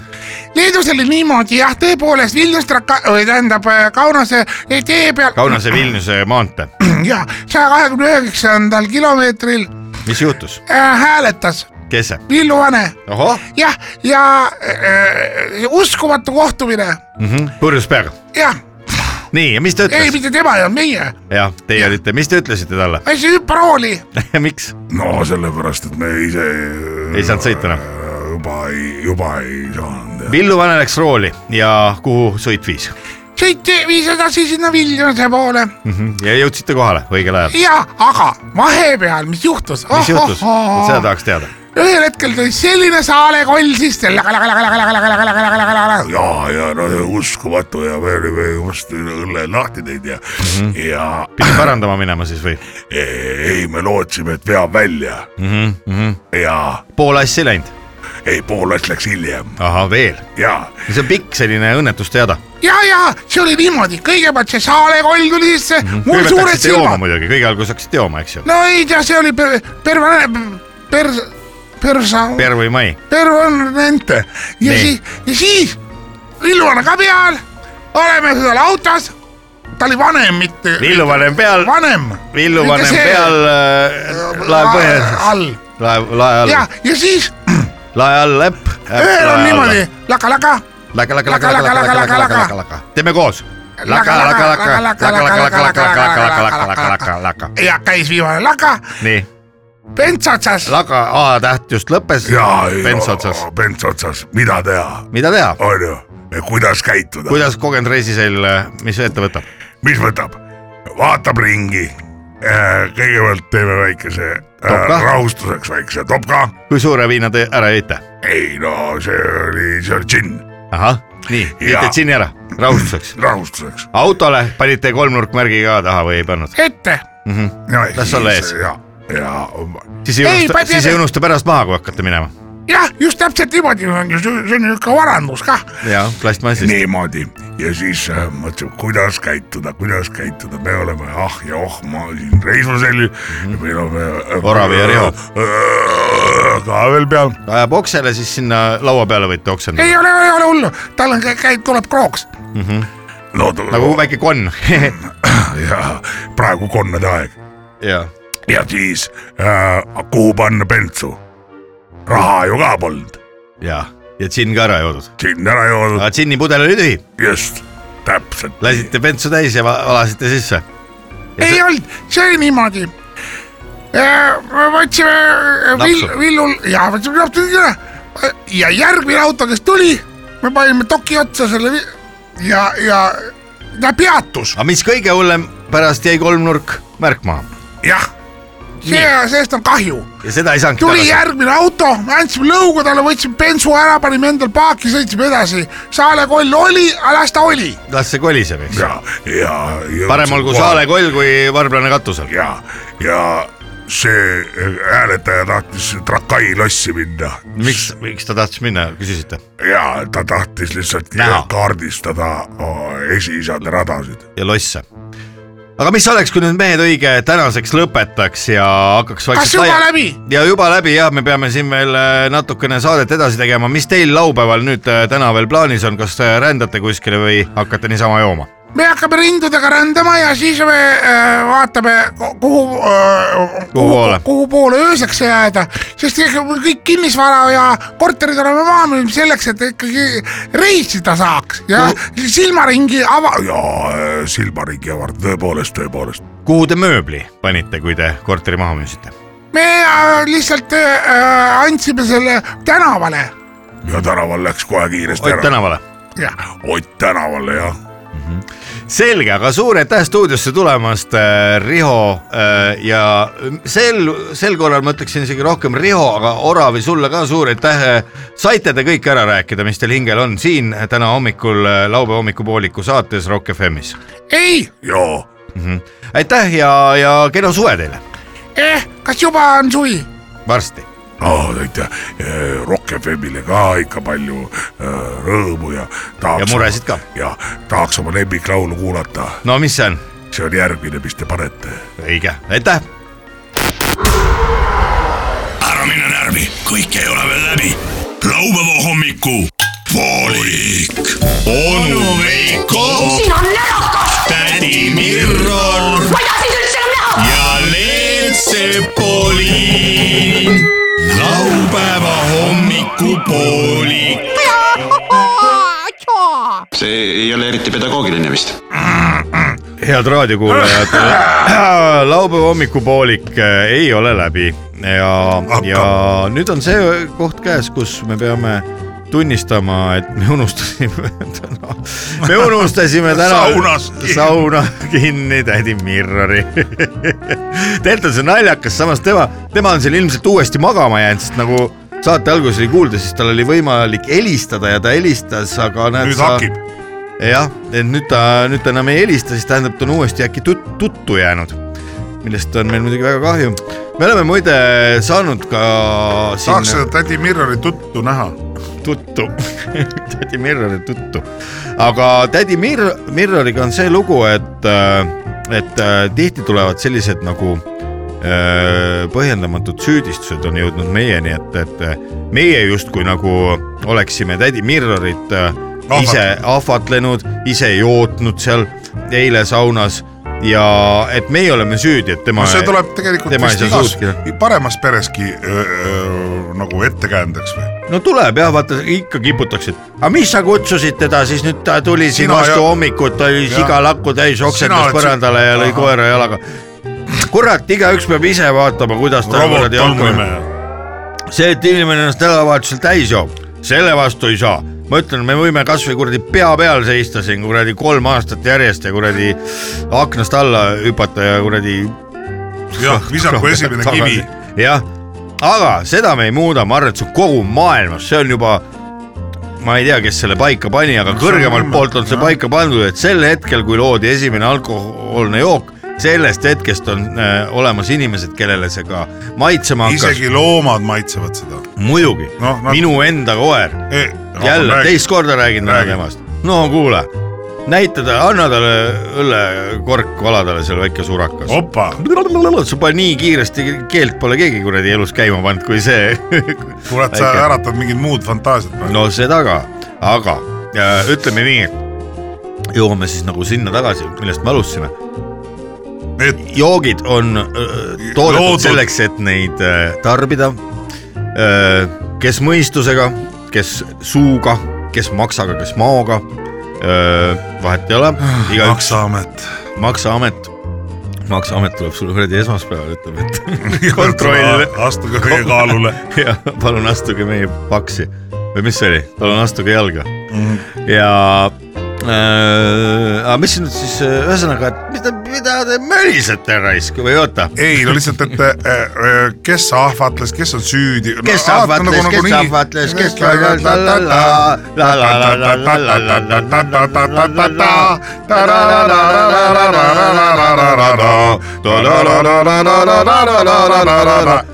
S6: Leedus oli niimoodi jah , tõepoolest Vilnius , tähendab eh, Kaunase tee peal ,
S4: Kaunase-Vilniuse maantee ,
S6: jah , saja kahekümne üheksandal kilomeetril äh,
S4: mis juhtus ?
S6: hääletas
S4: kes see ?
S6: Villu Vane
S4: ohoh ,
S6: jah , ja äh, uskumatu kohtumine ,
S4: Mhm. purjus peaga .
S6: jah ,
S4: nii , ja mis ta
S6: ei
S4: ütles ?
S6: mitte tema ja meie ,
S4: jah , teie olite , mis te ütlesite talle ?
S6: asi hüppa rooli ,
S4: miks ?
S5: no sellepärast , et me ise .
S4: ei saanud sõita enam .
S5: juba ei , juba ei saanud .
S4: Villu Vane läks rooli ja kuhu sõit viis
S6: sõit viis edasi sinna Vilniuse poole
S4: mm ? -hmm. ja jõudsite kohale õigel ajal .
S6: ja , aga vahepeal , mis juhtus ?
S4: mis juhtus ? seda tahaks teada .
S6: ühel hetkel tuli selline saalekoll siis .
S5: ja , ja no see on uskumatu ja me olime just õlle lahti teinud ja mm ,
S4: Mhm.
S5: -hmm. ja
S4: pidi parandama minema siis või
S5: ei , me lootsime , et veab välja
S4: mm ? -hmm.
S5: ja
S4: pool asja ei läinud .
S5: ei , pool asja läks hiljem
S4: ahah , veel .
S5: ja
S4: see on pikk selline õnnetuste jada .
S6: ja , ja see oli niimoodi , kõigepealt see saalekoll tuli sisse mm , -hmm.
S4: Mhm.
S6: mul suured silmad .
S4: muidugi , kõige alguses hakkasite jooma , eks ju .
S6: no ei tea , see oli per- , per- , per- , persa ,
S4: Per või Mai .
S6: permanente ja
S4: Nii.
S6: siis , ja siis Villu on ka peal , oleme seal autos , ta oli vanem , mitte
S4: Villu vanem peal ,
S6: vanem .
S4: Villu vanem peal , laev põhjas ,
S6: all
S4: laev , lae all
S6: ja , ja siis
S4: lae all äpp .
S6: ühel on niimoodi . laka-laka ,
S4: laga , laga , laga , laga , laga , laga , laga , laga , laga . teeme koos . laga , laga , laga , laga , laga , laga , laga , laga , laga , laga , laga , laga .
S6: ja käis viimane laka ,
S4: nii ,
S6: pents otsas ,
S4: laga A täht just lõppes .
S5: ja
S4: Pents otsas .
S5: pents otsas , mida teha ,
S4: mida teha ?
S5: onju , kuidas käituda ,
S4: kuidas kogenud reisiseil , mis ette võtab ?
S5: mis võtab , vaatab ringi . kõigepealt teeme väikese äh,
S4: Topka?
S5: rahustuseks väikse topka ,
S4: kui suure viina te ära jõite ?
S5: ei no see oli , see oli džinn
S4: ahah , nii , jõite
S5: Jaa.
S4: džinni ära , rahustuseks .
S5: rahustuseks .
S4: autole panite kolmnurkmärgi ka taha või ei pannud ?
S6: ette ,
S4: las olla ees ,
S5: ja , ja
S4: siis ei
S6: Ei,
S4: unusta ,
S6: panid
S4: siis ei
S6: ette.
S4: unusta pärast maha , kui hakkate minema .
S6: jah , just täpselt niimoodi on ju , see on ju ikka varandus kah
S4: jaa , plastmassist .
S5: niimoodi ja siis äh, mõtlesime , kuidas käituda , kuidas käituda , me oleme ah ja oh , ma siin reisusel , meil on äh,
S4: Mhm. Oravi ja Riho.
S5: äh, ka veel peal ,
S4: ajab oksele , siis sinna laua peale võite oksendada .
S6: ei ole , ei ole hullu , tal on , käib , tuleb krooks .
S5: no
S4: nagu väike konn .
S5: ja praegu konnade aeg
S4: jaa .
S5: ja siis äh, kuhu panna bensu , raha ju ka polnud ,
S4: jaa , ja džinn ka ära joodud .
S5: siin ära joodud ,
S4: aga džinni pudel oli tühi ,
S5: just täpselt .
S4: lasite bensu täis ja va- valasite sisse .
S6: ei olnud , see oli niimoodi . võtsime äh, vill,
S4: Napsu.
S6: villul ja võtsime napsu ära ja järgmine auto , kes tuli , me panime toki otsa selle vi- ja , ja ta peatus ,
S4: aga mis kõige hullem , pärast jäi kolmnurk märk maha
S6: jah . see , sellest on kahju ,
S4: ja seda ei saanudki
S6: tuli
S4: tagasi .
S6: järgmine auto , andsime lõuga talle , võtsime bensu ära , panime endal paaki , sõitsime edasi . saalekoll oli , aga las ta oli ,
S4: las see koliseb , eks .
S5: ja , ja .
S4: parem olgu . saalekoll kui varblane katusel .
S5: ja , ja see äh, hääletaja tahtis Trakai lossi minna
S4: miks , miks ta tahtis minna , küsisite ?
S5: ja ta tahtis lihtsalt
S4: Näha.
S5: kaardistada o, esiisade radasid .
S4: ja losse . aga mis oleks , kui nüüd mehed õige tänaseks lõpetaks ja hakkaks
S6: kas juba ? läbi ?
S4: ja juba läbi jah , me peame siin veel äh, natukene saadet edasi tegema , mis teil laupäeval nüüd äh, täna veel plaanis on , kas äh, rändate kuskile või hakkate niisama jooma ?
S6: me hakkame rindudega rändama ja siis me äh, vaatame , kuhu äh, ,
S4: poole?
S6: kuhu poole ööseks jääda , sest ega mul kõik kinnisvara ja korterid oleme maha müünud selleks , et ikkagi reisida saaks ja silmaringi ava- ,
S5: ja äh, silmaringi avard , tõepoolest , tõepoolest .
S4: kuhu te mööbli panite , kui te korteri maha müüsite ?
S6: me äh, lihtsalt äh, andsime selle tänavale
S5: ja tänaval läks kohe kiiresti
S4: Ott
S5: ära .
S4: tänavale .
S6: ja
S5: Ott tänavale jah ,
S4: selge , aga suur aitäh stuudiosse tulemast , Riho äh, ja sel , sel korral ma ütleksin isegi rohkem Riho , aga Oravi sulle ka suur aitäh . saite te kõik ära rääkida , mis teil hingel on siin täna hommikul , laupäeva hommikupooliku saates Rock FM-is .
S6: ei
S5: joo ,
S4: aitäh ja , ja kena suve teile ,
S6: eh, , kas juba on suvi ?
S4: varsti .
S5: aa , aitäh , Ah, äh, Rock FM-ile ka ikka palju äh, rõõmu ja tahaks .
S4: Ja muresid ka. .
S5: ja tahaks oma lemmiklaulu kuulata ,
S4: no mis see on ?
S5: see on järgmine , mis te panete
S4: õige , aitäh .
S1: ära mine närvi , kõik ei ole veel läbi . laupäeva hommiku poolik . onu Veiko ,
S7: siin on närakas ,
S1: tädi Mirror
S7: ma ei taha sind üldse enam näha .
S1: ja Leelsepoliin . laupäeva hommikupoolik .
S3: see ei ole eriti pedagoogiline vist .
S4: head raadiokuulajad , laupäeva hommikupoolik eh, ei ole läbi ja , ja nüüd on see koht käes , kus me peame tunnistama , et me unustasime täna , me unustasime täna
S5: Saunas kinni.
S4: sauna kinni tädi Mirrori . tegelikult on see naljakas , samas tema , tema on seal ilmselt uuesti magama jäänud , sest nagu saate alguses oli kuulda , siis tal oli võimalik helistada ja ta helistas , aga näed
S5: nüüd
S4: sa-
S5: hakib .
S4: jah , et nüüd ta , nüüd ta enam ei helista , siis tähendab , ta on uuesti äkki tut, tuttu jäänud , millest on meil muidugi väga kahju . me oleme muide saanud ka
S5: tahaks
S4: siin
S5: seda tädi Mirrori tuttu näha .
S4: tuttu , tädi Mirrori tuttu , aga tädi Mir- , Mirroriga on see lugu , et , et äh, tihti tulevad sellised nagu äh, põhjendamatud süüdistused on jõudnud meieni , et , et meie justkui nagu oleksime tädi Mirrorit äh,
S5: Ahvatlenud.
S4: ise ahvatlenud , ise jootnud seal eile saunas ja et meie oleme süüdi , et tema
S5: no Noh, see tuleb tegelikult
S4: tema ei
S5: vist
S4: saa
S5: igas
S4: suuski-
S5: paremas pereski öö, öö, nagu ettekäändeks või ?
S4: no tuleb jah , vaata ikka kiputakse , et aga mis sa kutsusid teda siis nüüd ta tuli siin
S5: Sina
S4: vastu
S5: ja-
S4: hommikut , ta oli
S5: Jah.
S4: siga lakku täis ,
S5: Sina
S4: oksendas
S5: oled
S4: põrandale ja lõi
S5: Ahah.
S4: koera jalaga . kurat , igaüks peab ise vaatama , kuidas ta
S5: robot
S4: kuradi
S5: on
S4: hakkama
S5: nime .
S4: see , et inimene ennast nädalavahetusel täis joob , selle vastu ei saa . ma ütlen , me võime kasvõi kuradi pea peal seista siin kuradi kolm aastat järjest ja kuradi aknast alla hüpata ja kuradi .
S5: jah , visaku esimene kivi .
S4: jah , aga seda me ei muuda , ma arvan , et see on kogu maailmas , see on juba ma ei tea , kes selle paika pani , aga kõrgemalt poolt on see paika pandud , et sel hetkel , kui loodi esimene alkohoolne jook , sellest hetkest on äh, olemas inimesed , kellele see ka maitsema hakkas .
S5: isegi loomad maitsevad seda .
S4: muidugi no, ,
S5: Noh, nad-
S4: minu enda koer ,
S5: E,
S4: jälle no, , teist korda räägin täna
S5: Räägi.
S4: temast . no kuule , näita talle , anna talle õllekork , vala talle seal väike surakas .
S5: opa ,
S4: sa paned nii kiiresti , keelt pole keegi kuradi elus käima pannud , kui see .
S5: kurat , sa äratad mingid muud fantaasiad praegu .
S4: no seda ka , aga äh, ütleme nii , et jõuame siis nagu sinna tagasi , millest me alustasime .
S5: et
S4: joogid on äh, toodetud
S5: Loodud.
S4: selleks , et neid äh, tarbida . kes mõistusega , kes suuga , kes maksaga , kes maoga . vahet ei ole , igaüks ,
S5: maksuamet .
S4: maksaamet , maksaamet tuleb sulle kuradi esmaspäeval , ütleb , et kontroll
S5: astuge meie kaalule .
S4: ja palun astuge meie paksi või mis see oli , palun astuge jalga
S5: Mhm.
S4: ja äh, aga mis nüüd siis , ühesõnaga , et mida , mida te mölisete raisk või oota ,
S5: ei no lihtsalt , et äh, äh, kes ahvatles , kes on süüdi . nagu-
S4: kes ahvatles , kes ahvatles , kes la la la la la la la la la la la la la la la la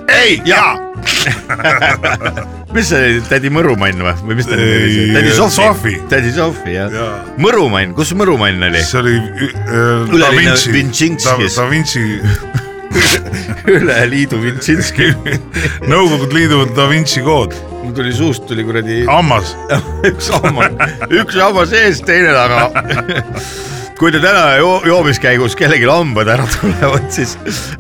S5: ei , jaa .
S4: mis see oli , tädi Mõrumann või , või mis ta nimi oli
S5: Ei, ,
S4: tädi Sofi
S5: Sofi. ,
S4: tädi Sofi jah
S5: Jaa. ,
S4: Mõrumann , kus Mõrumann oli ?
S5: see oli ü- äh, Da
S4: Üleline
S5: Vinci , Da,
S4: Vincentskis.
S5: da Vinci ,
S4: üle liidu Vintsinski ,
S5: Nõukogude Liidu Da Vinci kood ,
S4: mul tuli suust tuli kuradi
S5: hammas .
S4: üks hammas , üks hammas ees , teine taga . kui te täna joo- joomiskäigus kellelgi hambad ära tulevad , siis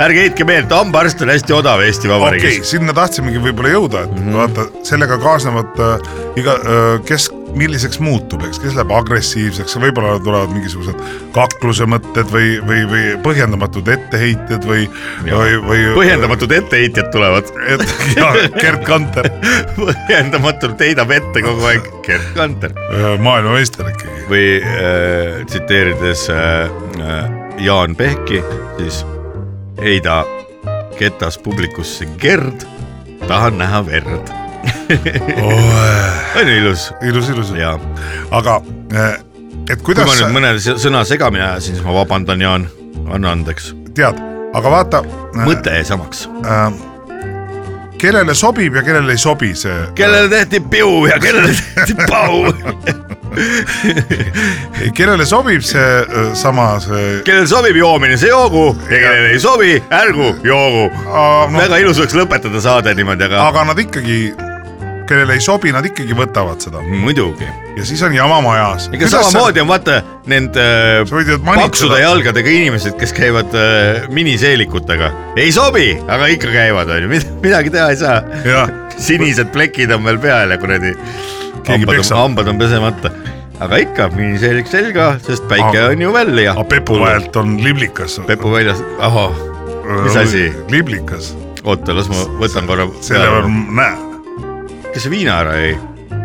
S4: ärge heitke meelt , hambaarst on hästi odav Eesti
S5: okei okay, ,
S4: Vabariigis . Mhm.
S5: sinna tahtsimegi võib-olla jõuda , et mm -hmm. vaata , sellega kaasnevad äh, iga äh, , kes , milliseks muutub , eks , kes läheb agressiivseks , võib-olla tulevad mingisugused kakluse mõtted või , või , või põhjendamatud etteheited või , või , või .
S4: põhjendamatud etteheitjad tulevad ,
S5: et ja Gerd Kanter ,
S4: põhjendamatult heidab ette kogu aeg Gerd Kanter
S5: maailmameister ikkagi .
S4: või äh, tsiteerides äh, äh, Jaan Pehki , siis heida ketas publikusse Gerd , tahan näha verd . on ju ilus
S5: ilus , ilus ,
S4: ja
S5: aga äh, et
S4: kui ma nüüd
S5: kuidas sa
S4: mõne s- sõna segamini ajasin , siis ma vabandan , Jaan , anna andeks ,
S5: tead , aga vaata .
S4: mõte jäi samaks .
S5: äh, kellele sobib ja kellele ei sobi see .
S4: kellele tehti piu ja kellele tehti pau ,
S5: kellele sobib see äh, sama see
S4: kellele sobib joomine , see joogu ja kellele ei sobi , ärgu joogu .
S5: Aa, no,
S4: väga ilus oleks lõpetada saade niimoodi , aga
S5: aga nad ikkagi , kellele ei sobi , nad ikkagi võtavad seda
S4: muidugi .
S5: ja siis on jama majas .
S4: ega samamoodi on vaata need äh,
S5: Sa võid ju manitseda.
S4: paksude jalgadega inimesed , kes käivad äh, miniseelikutega , ei sobi , aga ikka käivad , onju , midagi teha ei saa .
S5: jah ,
S4: sinised plekid on veel peal ja kuradi
S5: Keegi
S4: hambad on ,
S5: peksab.
S4: hambad on pesemata , aga ikka miniseelik selga , sest päike
S5: Aga-
S4: on ju välja .
S5: aga Ah. pepu . vahelt on liblikas .
S4: pepu väljas , ahah , mis asi?
S5: liblikas ,
S4: oota , las ma võtan korra .
S5: selle peal on- näe ,
S4: kes see viina ära jäi ?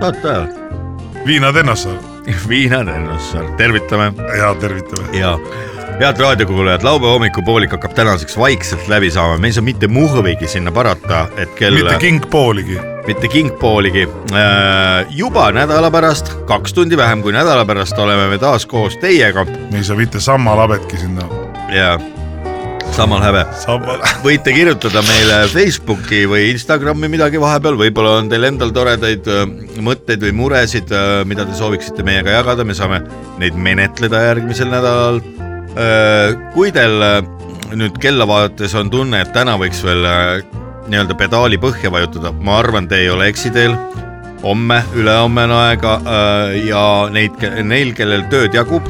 S4: oota ,
S5: viinad ennast
S4: viina Tõnussaar , tervitame
S5: ja tervitame .
S4: ja head raadiokuulajad , laupäeva hommikupoolik hakkab tänaseks vaikselt läbi saama , me ei saa mitte muhvigi sinna parata , et kell
S5: mitte kingpooligi ,
S4: mitte kingpooligi . juba nädala pärast , kaks tundi vähem kui nädala pärast oleme me taas koos teiega
S5: me ei saa mitte sammalabetki sinna .
S4: ja samal häbe .
S5: sammal ,
S4: võite kirjutada meile Facebooki või Instagrami midagi vahepeal , võib-olla on teil endal toredaid öö, mõtteid või muresid , mida te sooviksite meiega jagada , me saame neid menetleda järgmisel nädalal . kui teil öö, nüüd kella vaadates on tunne , et täna võiks veel öö, nii-öelda pedaali põhja vajutada , ma arvan , te ei ole eksiteel homme , ülehomme on aega öö, ja neid , neil , kellel tööd jagub ,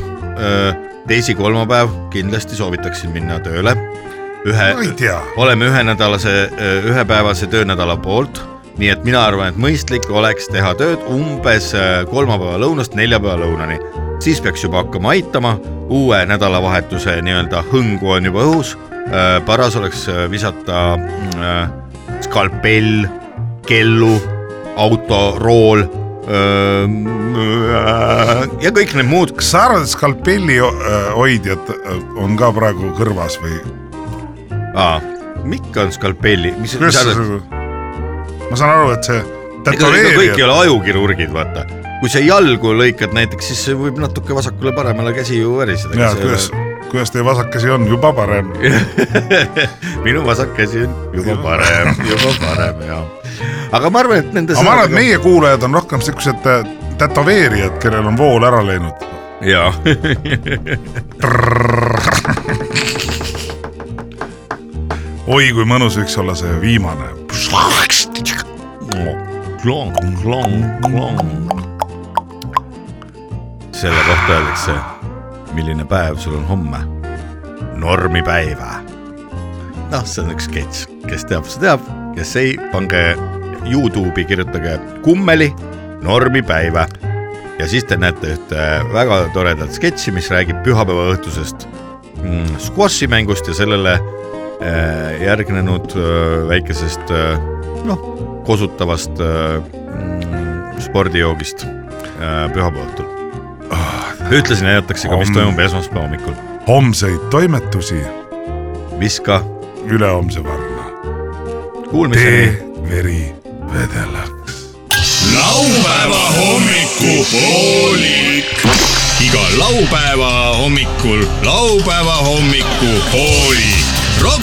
S4: teisi-kolmapäev kindlasti soovitaksin minna tööle ühe
S5: ma ei tea ,
S4: oleme ühenädalase , ühepäevase töönädala poolt , nii et mina arvan , et mõistlik oleks teha tööd umbes öö, kolmapäeva lõunast neljapäeva lõunani . siis peaks juba hakkama aitama , uue nädalavahetuse nii-öelda hõngu on juba õhus . paras oleks öö, visata öö, skalpell , kellu , autorool öö, ja kõik need muud
S5: kas sa arvad , et skalpelli öö, äh, hoidjad öö, on ka praegu kõrvas või ?
S4: ah, . Mikk on skalpelli , mis , mis
S5: kuidas
S4: sa
S5: sa
S4: arvad ?
S5: seda , ma saan aru , et see
S4: ega ega kõik ei
S5: tätoveerija ,
S4: ole ajukirurgid , vaata . kui sa jalgu lõikad näiteks , siis see võib natuke vasakule-paremale käsi ju väriseda .
S5: jaa , kuidas , kuidas teie vasak käsi on , juba parem .
S4: minu vasak käsi on juba parem , juba parem ja . aga ma arvan , et nende
S5: aga ma arvan , et meie kuulajad on rohkem siuksed äh, tätoveerijad , kellel on vool ära läinud .
S4: jaa ,
S5: oi , kui mõnus võiks olla see viimane .
S4: selle kohta öeldakse , milline päev sul on homme ? normipäeva . noh , see on üks sketš , kes teab , see teab , kes ei , pange Youtube'i , kirjutage kummeli normipäeva ja siis te näete ühte väga toredat sketši , mis räägib pühapäeva õhtusest mm, squashi mängust ja sellele äh, järgnenud äh, väikesest äh, noh , kosutavast äh, mm, spordijoogist äh, pühapäeva õhtul . ühtlasi näidatakse ka , mis
S5: Om.
S4: toimub esmaspäeva hommikul .
S5: homseid toimetusi
S4: viska ,
S5: ülehomse varna .
S4: kuulmiseni
S5: tee . veri vedelaks .
S2: laupäeva hommikupoolik . iga laupäeva hommikul laupäeva hommikupoolik . Rock